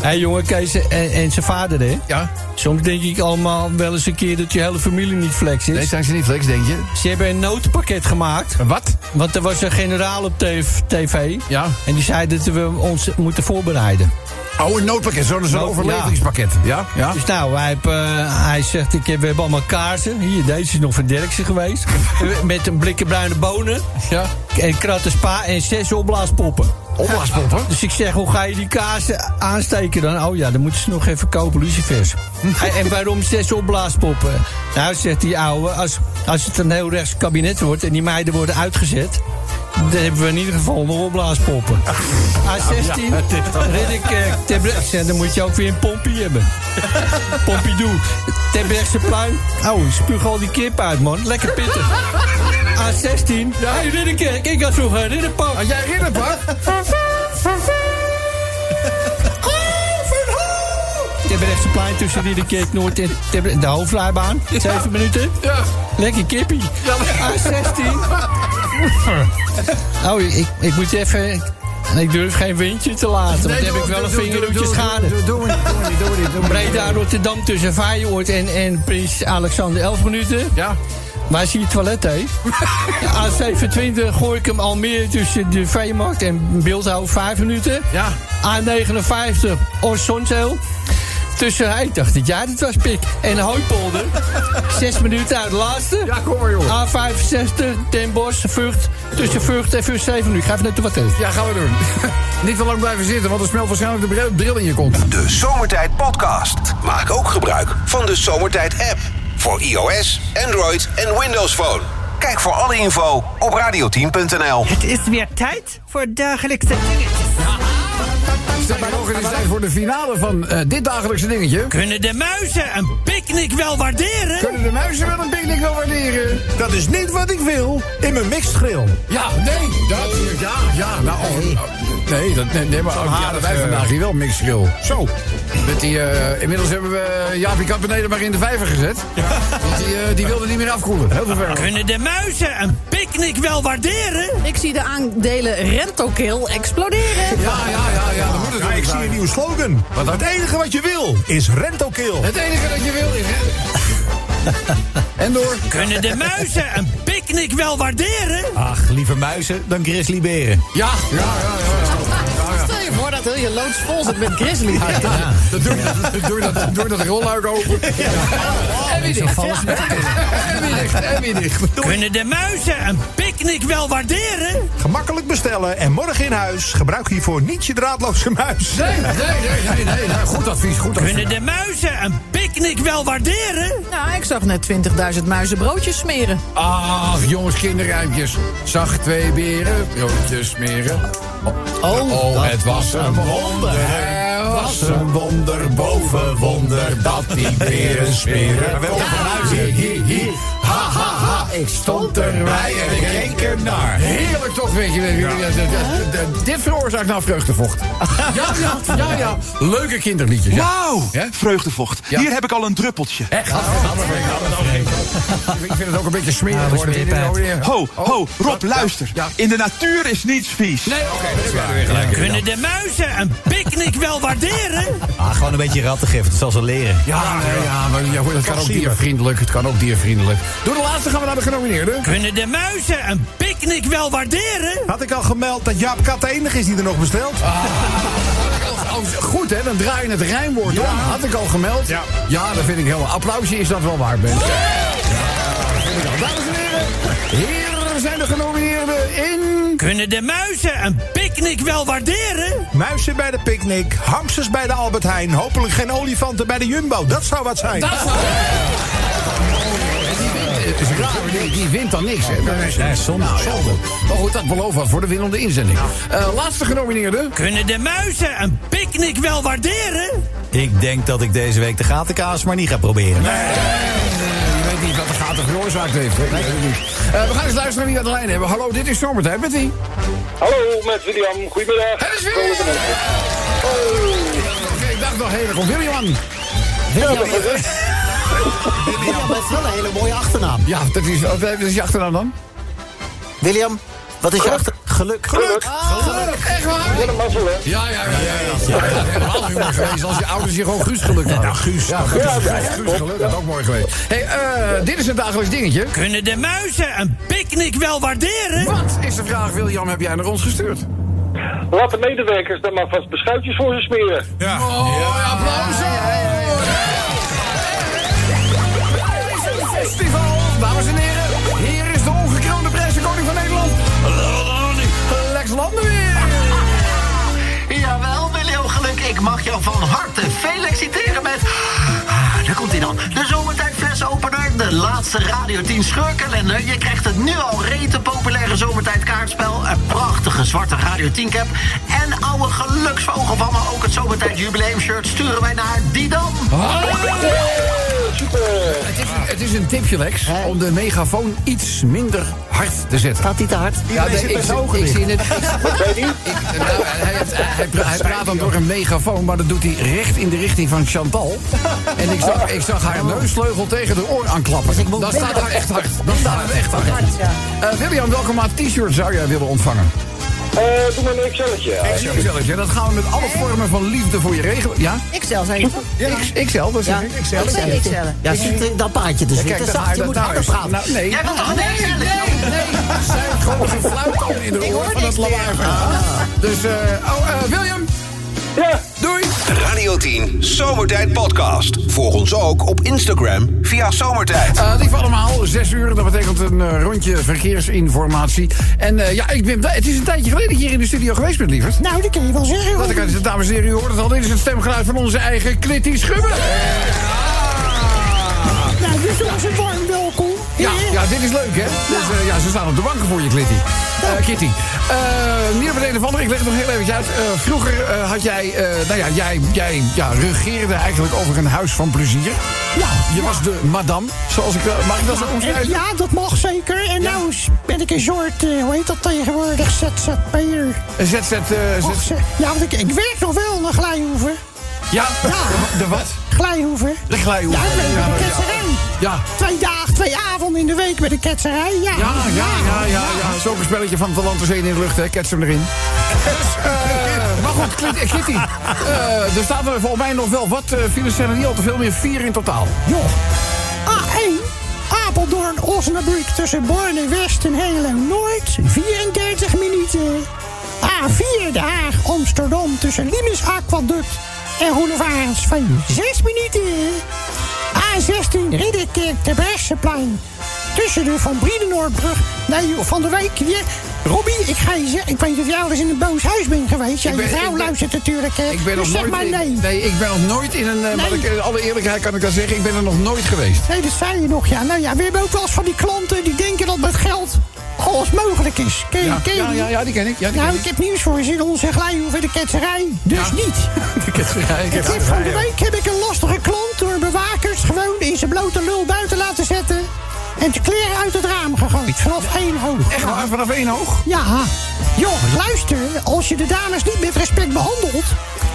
S9: Hé jongen, Kees en, en zijn vader, hè?
S2: Ja.
S9: Soms denk ik allemaal wel eens een keer dat je hele familie niet flex is.
S2: Nee, zijn ze niet flex, denk je?
S9: Ze hebben een noodpakket gemaakt.
S2: Een Wat?
S9: Want er was een generaal op tv, TV.
S2: Ja.
S9: En die zei dat we ons moeten voorbereiden.
S2: Oh, een noodpakket, zo'n zo'n
S9: Nood-
S2: overlevingspakket. Ja, ja.
S9: Dus nou, hij, heeft, eh, hij zegt, ik heb, we hebben allemaal kaarsen. Hier, deze is nog van Derksen geweest. Met een blikken bruine bonen.
S2: Ja.
S9: En kratten spa en zes opblaaspoppen.
S2: Opblaaspomp, hoor.
S9: Dus ik zeg, hoe ga je die kaarsen aansteken dan? Oh ja, dan moeten ze nog even kopen, lucifers. en, en waarom zes opblaaspoppen? Nou, zegt die ouwe, als, als het een heel rechts kabinet wordt... en die meiden worden uitgezet... dan hebben we in ieder geval nog opblaaspoppen. A16, Ridderkerk, Terbrechtse... en dan moet je ook weer een pompie hebben. Pompidou, Terbrechtse pluim. Oh, spuug al die kip uit, man. Lekker pittig. A16, hey, Ridderkerk, ik had vroeger een ridderpak.
S2: Had jij ridder, pa?
S9: Terbrechtse plein tussen Ridderkerk Noord en Terbrecht- de hoofdrijbaan. Zeven minuten.
S2: Ja.
S9: Lekker kippie. A16. Oh, ik, ik moet even... Ik durf geen windje te laten, want dan heb ik wel een vingerhoedje schade.
S2: Doe maar niet, doe maar niet, doe maar niet.
S9: Breda, Rotterdam tussen Feyenoord en, en Prins Alexander. 11 minuten.
S2: Ja.
S9: Waar zie je toilet, hè? A27 gooi ik hem Almere tussen de Veemarkt en Beeldhouw 5 minuten.
S2: Ja.
S9: A59 Orsonzeel. Tussen, ik dacht dat jij dit was, Pik. En Hooipolder. 6 minuten uit de laatste.
S2: Ja, kom maar, joh.
S9: A65 Den Bosch, Vught. Tussen Vught en Vught 7 minuten. Ik ga even net de wat eten.
S2: Ja, gaan we doen. Niet te lang blijven zitten, want er smelt waarschijnlijk de bril- bril in je kont.
S1: De Zomertijd Podcast. Maak ook gebruik van de Zomertijd app. Voor iOS, Android en Windows Phone. Kijk voor alle info op radio10.nl.
S8: Het is weer tijd voor dagelijkse dingetjes.
S2: Sterker nog, het is tijd voor de finale van eh, dit dagelijkse dingetje.
S11: Kunnen de muizen een picknick wel waarderen?
S2: Kunnen de muizen wel een picknick wel waarderen?
S6: Dat is niet wat ik wil in mijn mixgrill.
S2: Ja, nee, dat... Ja, ja, nou... oh, oh, nee, dat, nee, nee, maar ook, ja, dat wij vandaag hier wel mixgrill. Zo. Met die, eh, inmiddels hebben we Jaapie Kat beneden maar in de vijver gezet. Want die, eh, die wilde niet meer afkoelen. Heel veel werk.
S11: Kunnen de muizen een picknick wel waarderen?
S5: Ik zie de aandelen Rentokil exploderen.
S2: Ja, ja, ja, ja, dat moet het
S6: Ja,
S2: ook
S6: ik zie
S2: zijn.
S6: een nieuwe slogan.
S2: Wat dan?
S6: Het enige wat je wil is rentokill.
S2: Het enige dat je wil is... en door.
S11: Kunnen de muizen een picknick wel waarderen?
S7: Ach, liever muizen dan grizzlyberen.
S2: Ja, ja, ja, ja. ja.
S5: Stel je voor dat heel je loods vol zit met grizzly.
S2: Dat doe, dat, doe, dat, doe dat rolluik open. En weer dicht. En weer dicht. En weer dicht.
S11: Kunnen de muizen een picknick wel waarderen?
S6: Gemakkelijk bestellen en morgen in huis. Gebruik hiervoor niet je draadloze muis.
S2: Nee, nee, nee, nee, nee, nee. Goed advies, goed advies.
S11: Kunnen de muizen een picknick wel waarderen?
S5: Nou, ik zag net 20.000 muizen broodjes smeren.
S2: Ach, jongens, kinderruimpjes. Zag twee beren, broodjes smeren. Oh, het was een wonder. Het was een wonder boven wonder dat die beren smeren.
S6: hebben
S2: Ja. Hi, hi, hi. Ha, ha, ha. Ik stond erbij en ik keek er naar. Heerlijk toch, weet je. weet je, dat- dat- dat- dat- Dit veroorzaakt nou vreugdevocht. Ja, ja, ja, ja. Leuke kinderliedjes. ja.
S18: Wauw,
S2: Ja?
S18: vreugdevocht.
S2: Ja.
S18: Hier heb ik al een druppeltje.
S2: Echt? Ik vind het ook een beetje smerig worden. dit nou weer.
S18: Ho, ho, Rob, luister.
S2: ja.
S18: In de natuur is niets vies.
S2: Nee, oké, dat is waar. Weer gelijk.
S11: Kunnen de muizen een picknick wel waarderen?
S7: Ah, gewoon een beetje rattengift. Dat zal ze leren.
S2: Ja, nee, ja, maar ja, het kan ook diervriendelijk. Het kan ook diervriendelijk. Door de laatste gaan we naar de genomineerden.
S11: Kunnen de muizen een picknick wel waarderen? Ah.
S6: Had ik al gemeld dat Jaap Kat de enige is die er nog bestelt?
S2: Oh, Goed, hè? Dan draai je het rijmwoord om. Had ik al gemeld. Ja, dat vind ik helemaal. Applausje is dat wel waard, Ben. Ja, dat vind ik wel. Nou, Dames en heren, hier zijn de genomineerden in...
S11: Kunnen de muizen een picknick wel waarderen?
S6: Muizen bij de picknick, hamsters bij de Albert Heijn. Hopelijk geen olifanten bij de Jumbo. Dat zou wat zijn.
S2: Het is raar, die, die wint dan niks, hè? Nou,
S7: Nee, zonde.
S2: Zonde. Oh, Maar goed, dat belooft wat voor de winnende inzending. Eh, laatste genomineerde.
S11: Kunnen de muizen een picknick wel waarderen?
S7: Ik denk dat ik deze week de gatenkaas maar niet ga proberen.
S2: Je eh, weet niet wat de gaten veroorzaakt heeft. hè? Eh, we gaan eens luisteren wie we aan de lijn hebben. Hallo, dit is Zomertijd. Met wie?
S19: Hallo, met William. Goedemiddag.
S2: Het is William! Oh. Oké, ik dacht nog heel erg om William.
S19: William,
S3: Dat is wel een hele mooie achternaam.
S2: Ja, dat is, oh, dat is je achternaam dan?
S3: William, wat is je achter... Geluk. Geluk.
S2: Echt waar?
S19: Willem Mazzel, hè?
S2: Ja, ja, ja. ja, ja. ja, ja. Helemaal humor geweest als je ouders je gewoon Guus geluk hadden. Ja, Guus. Ja, Guus,
S19: ja, ja.
S2: Guus geluk. Dat had ook mooi geweest. hey, eh, dit is een dagelijks dingetje.
S11: Kunnen de muizen een picknick wel waarderen?
S2: Wat is de vraag, William, heb jij naar ons gestuurd?
S19: Laat de medewerkers dan maar vast beschuitjes voor ze smeren.
S2: Ja. Oh, applaus! Er is een festival, dames en heren. Hier is de ongekroonde pressenkoning van Nederland. Lex Landenweer.
S8: Jawel, William Geluk, ik mag jou van harte feliciteren met... Ah, Daar komt hij dan. De zomertijdflessenopener, de laatste Radio 10 scheurkalender. Je krijgt het nu al rete populaire zomertijdkaartspel. Een prachtige zwarte Radio 10 cap. En oude geluksvogel van me, ook het zomertijd jubileumshirt sturen wij naar Didam.
S19: Super.
S2: Het is, een, het is een tipje, Lex, om de megafoon iets minder hard te zetten.
S3: Gaat die te hard?
S2: Ja, nee, ik, zie- ik zie het.
S19: Wat zei die?
S2: Ik, nou, hij, heeft- hij, pra- hij praat dan door een megafoon, maar dat doet hij recht in de richting van Chantal. En ik zag, ik zag haar neusleugel tegen de oor
S3: Dus
S2: aanklappen. Dan staat het echt hard. Dan staat het echt hard. Eh, William, welke maat t-shirt zou jij willen ontvangen?
S19: Eh, doe maar een Excelletje.
S2: Zelfs, ja, dat gaan we met alle vormen van liefde voor je regelen. Ja?
S20: Ik zelf, zei je toch?
S2: Ik, ikzelf, dat zeg ik. Ikzelf.
S20: Ik zei ik zelf.
S3: Ja, zit dat paardje te
S2: Kijk,
S3: zitten.
S2: daar
S3: Zacht, je moet harder praten.
S2: Nou, nee.
S8: Jij bent toch een
S2: Nee, nee,
S8: excelletje?
S2: nee. Zij heeft gewoon een fluit al in de oor
S20: hoor
S2: van het
S20: niks meer.
S2: lawaai. Dus, eh, oh, eh, William,
S19: Ja.
S2: doei.
S1: Radio 10 Zomertijd Podcast. Volg ons ook op Instagram via Zomertijd.
S2: Eh, lief allemaal, zes uur, dat betekent een eh, rondje verkeersinformatie. En eh, ja, ik ben blij. Het is een tijdje geleden dat ik hier in de studio geweest ben, lieverd.
S3: Nou, dat kun je wel zeggen.
S2: Dat kan dames en heren, u hoort het al. Dit is het stemgeluid van onze eigen Klitty Schubber.
S3: Nou, dus jongens, een warm welkom.
S2: Ja, ja, dit is leuk, hè? Dus, eh, ja, ze staan op de banken voor je, Klitty. Eh, Kitty. Eh niet op het een of ander, ik leg het nog heel even uit. Eh, vroeger eh, had jij, eh, nou ja, jij, jij ja, regeerde eigenlijk over een huis van plezier. Ja. Je was de madame, zoals ik, eh, mag ik dat zo omschrijven?
S20: Ja, dat mag zeker. En nou is- ben ik een soort, eh, hoe heet dat tegenwoordig, ZZP'er.
S2: Een ZZ, eh,
S20: Och,
S2: ZZ
S20: ze- Ja, want ik, ik werk nog wel naar Glijhoeven.
S2: Ja, de, de wat?
S20: Glijhoeven.
S2: De glijhoeven.
S20: Ja, ik werk
S2: Ja,
S20: bij de
S2: ja.
S20: ketserij.
S2: Ja.
S20: Twee dagen, twee avonden in de week bij de ketserij. Ja,
S2: Ja, ja, ja, ja, ja. Zo'n spelletje van Talent en Zee in de lucht, hè. Kets hem erin.
S20: Dus,
S2: Eh, maar goed, Kit- eh, Kitty. eh, er staat er volgens mij nog wel wat. eh, files zijn er niet al te veel meer. Vier in totaal. Joh.
S20: A1, Apeldoorn, Osnabrück tussen Borne West en Helen Noord, 34 minuten. A4, Den Haag, Amsterdam tussen Limes Aquaduct en Roelevarens van 6 minuten. A16, Ridderkerk, Terbrechtseplein tussen de Van Briedenoordbrug, nee joh, Van de Wijk hier. Robbie, ik ga je zeggen, ik weet dat jij al eens in een boos huis bent geweest. Ja,
S2: Ik ben-
S20: je
S2: ik
S20: vrouw
S2: ben-
S20: luistert natuurlijk, hè.
S2: Ik ben nog
S20: dus zeg
S2: nooit,
S20: maar
S2: ik-
S20: nee.
S2: ik ben nog nooit in een... eh, maar
S20: Nee.
S2: ik- in alle eerlijkheid kan ik dat zeggen. Ik ben er nog nooit geweest.
S20: Nee, dat zei je nog, ja. Nou ja, we hebben ook wel eens van die klanten die denken dat met geld alles mogelijk is. Ken je,
S2: Ja,
S20: ken je
S2: ja,
S20: die?
S2: ja, ja, die ken ik, ja, die
S20: nou,
S2: ken
S20: ik heb nieuws voor je. Zit onze glijhoeven de ketserij. Dus niet.
S2: De ketserij.
S20: Ik heb van de week heb ik een lastige klant door bewakers gewoon in zijn blote lul buiten laten zetten. En de kleren uit het raam gegooid. Vanaf één hoog.
S2: Echt waar? Vanaf één hoog?
S20: Ja. Joh, luister. Als je de dames niet met respect behandelt...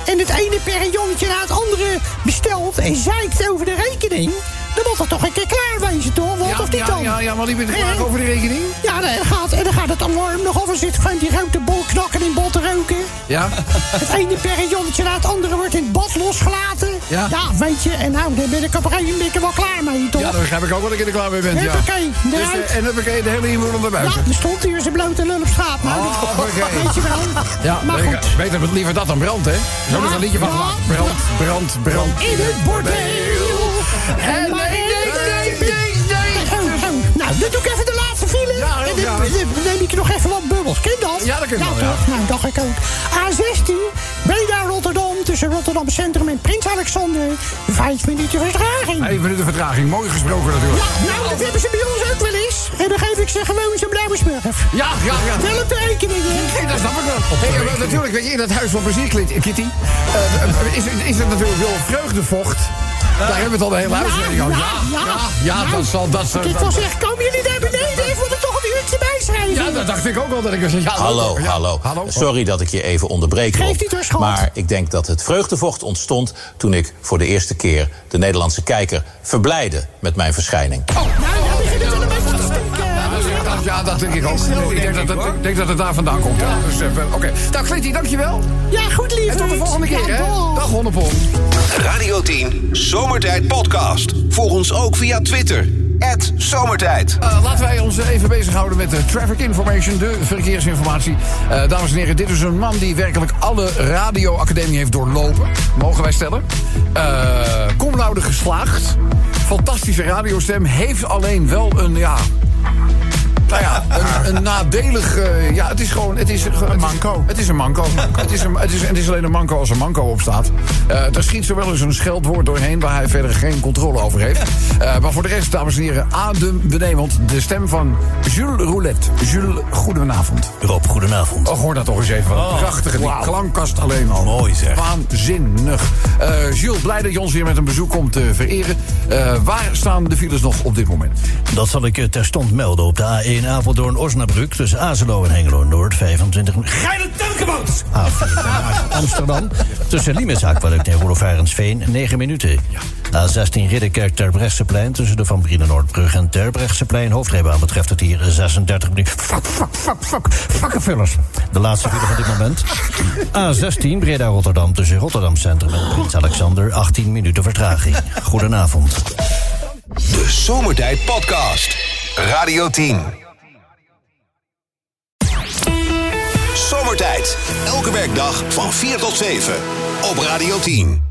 S20: en het ene perjongetje na het andere bestelt... en zeikt over de rekening... dan moet dat toch een keer klaar wezen, toch? Wat
S2: Ja,
S20: of niet
S2: ja,
S20: dan?
S2: ja, ja, want die bent
S20: Hè?
S2: klaar over de rekening.
S20: Ja, nee, dat gaat, en dan gaat het alarm nog over zit gewoon die grote bol knakken in bot te roken.
S2: Ja.
S20: Het ene perjongetje na het andere wordt in het bad losgelaten.
S2: Ja.
S20: weet je, en nou, daar ben ik op een gegeven moment wel klaar mee, toch?
S2: Ja, dat begrijp ik ook wel dat ik er klaar mee ben. Ja.
S20: Huppakee,
S2: Dus,
S20: eruit.
S2: eh, en heb ik de hele inwoner naar
S20: Ja, dus-
S2: buiten.
S20: er stond hier zijn blote lul op straat. Nou, dat-
S2: Hoppakee.
S20: weet je wel.
S2: Oh, Ja,
S20: maar
S2: weet-
S20: goed.
S2: Beter wat liever dat dan brand, hè? Zo is een liedje van
S20: Ja.
S2: gemaakt. Brand, brand, brand.
S20: In het bordeel. En maar nee, nee, nee, nee. Nou, dan doe ik even de laatste file.
S2: Ja, heel
S20: en dan
S2: graag.
S20: dan neem ik nog even wat bubbels. Ken je dat?
S2: Ja, dat kan wel, ja.
S20: toch? Nou, dacht ik ook. A16, Breda, Rotterdam. Tussen Rotterdam Centrum en Prins Alexander. Vijf minuten vertraging.
S2: Even minuten vertraging. Mooi gesproken natuurlijk.
S20: Nou, dat hebben ze bij ons ook wel eens. En dan geef ik ze gewoon zo'n blauwe smurf.
S2: Ja, ja, ja.
S20: Wel op de rekening, hè?
S2: Nee, dat snap ik wel. Hey, maar natuurlijk, weet je, in dat huis van plezier, Kit- Kitty, eh, eh, is, er- is er natuurlijk wel vreugdevocht. Daar hebben we het al de hele huis
S20: Ja,
S2: mee gehad.
S20: ja, ja.
S2: ja, dat zal... Dat zal
S20: Ik wil zeggen, komen jullie daar beneden? Ik wil er toch een uurtje bij schrijven.
S2: ja, dat dacht ik ook al dat ik was. Ja,
S21: Hallo, hallo, Sorry dat ik je even onderbreek.
S20: Geeft
S21: Rob.
S20: niet hoor, schat.
S21: maar ik denk dat het vreugdevocht ontstond toen ik voor de eerste keer de Nederlandse kijker verblijde met mijn verschijning.
S2: Ja, dat denk ik ook. Ik denk dat, het- ik denk dat het daar vandaan komt. Ja. Dus, eh, Oké. Nou, Kitty, dankjewel.
S20: Ja, goed, lief.
S2: En tot de volgende keer, hè? Dag, Honnepon.
S1: Radio 10, Zomertijd Podcast. Volg ons ook via Twitter. Het Zomertijd.
S2: Eh, laten wij ons even bezighouden met de traffic information, de verkeersinformatie. Eh, dames en heren, dit is een man die werkelijk alle radioacademie heeft doorlopen. Mogen wij stellen. Eh kom loude geslaagd. Fantastische radiostem. Heeft alleen wel een, ja... Nou ja, een, een nadelig... eh, ja, het is gewoon... Het is, een manco. Het is een manco. Het is, een, het, is, het is alleen een manco als er manco op staat. Eh er schiet zo wel eens een scheldwoord doorheen... waar hij verder geen controle over heeft. Eh, maar voor de rest, dames en heren, adembenemend... de stem van Jules Roulette. Jules, goedenavond.
S10: Rob, goedenavond.
S2: Oh, hoor dat toch eens even. Wat een prachtige die
S10: wauw.
S2: klankkast alleen al.
S10: Mooi, zeg.
S2: Waanzinnig. Eh, Jules, blij dat je ons weer met een bezoek komt te vereren. Eh, waar staan de files nog op dit moment?
S10: Dat zal ik je terstond melden op de A1 Apeldoorn-Osnabrück... tussen Azelo en Hengelo-Noord, 25
S11: Geile telkeboot!
S10: Amsterdam. Tussen Limes Aquaduct en Roelofarensveen, 9 minuten. A16 Ridderkerk Terbrechtseplein tussen de Van Brienenoordbrug en Terbrechtseplein. Hoofdrijbaan betreft het hier 36 minuten. Fuck, fuck, fuck, fuck. Vakkenvullers. De laatste file van dit moment. A16 Breda-Rotterdam tussen Rotterdam Centrum en Prins Alexander. 18 minuten vertraging. Goedenavond.
S1: De Zomertijd Podcast. Radio 10. Zomertijd. Elke werkdag van 4 tot 7. Op Radio 10.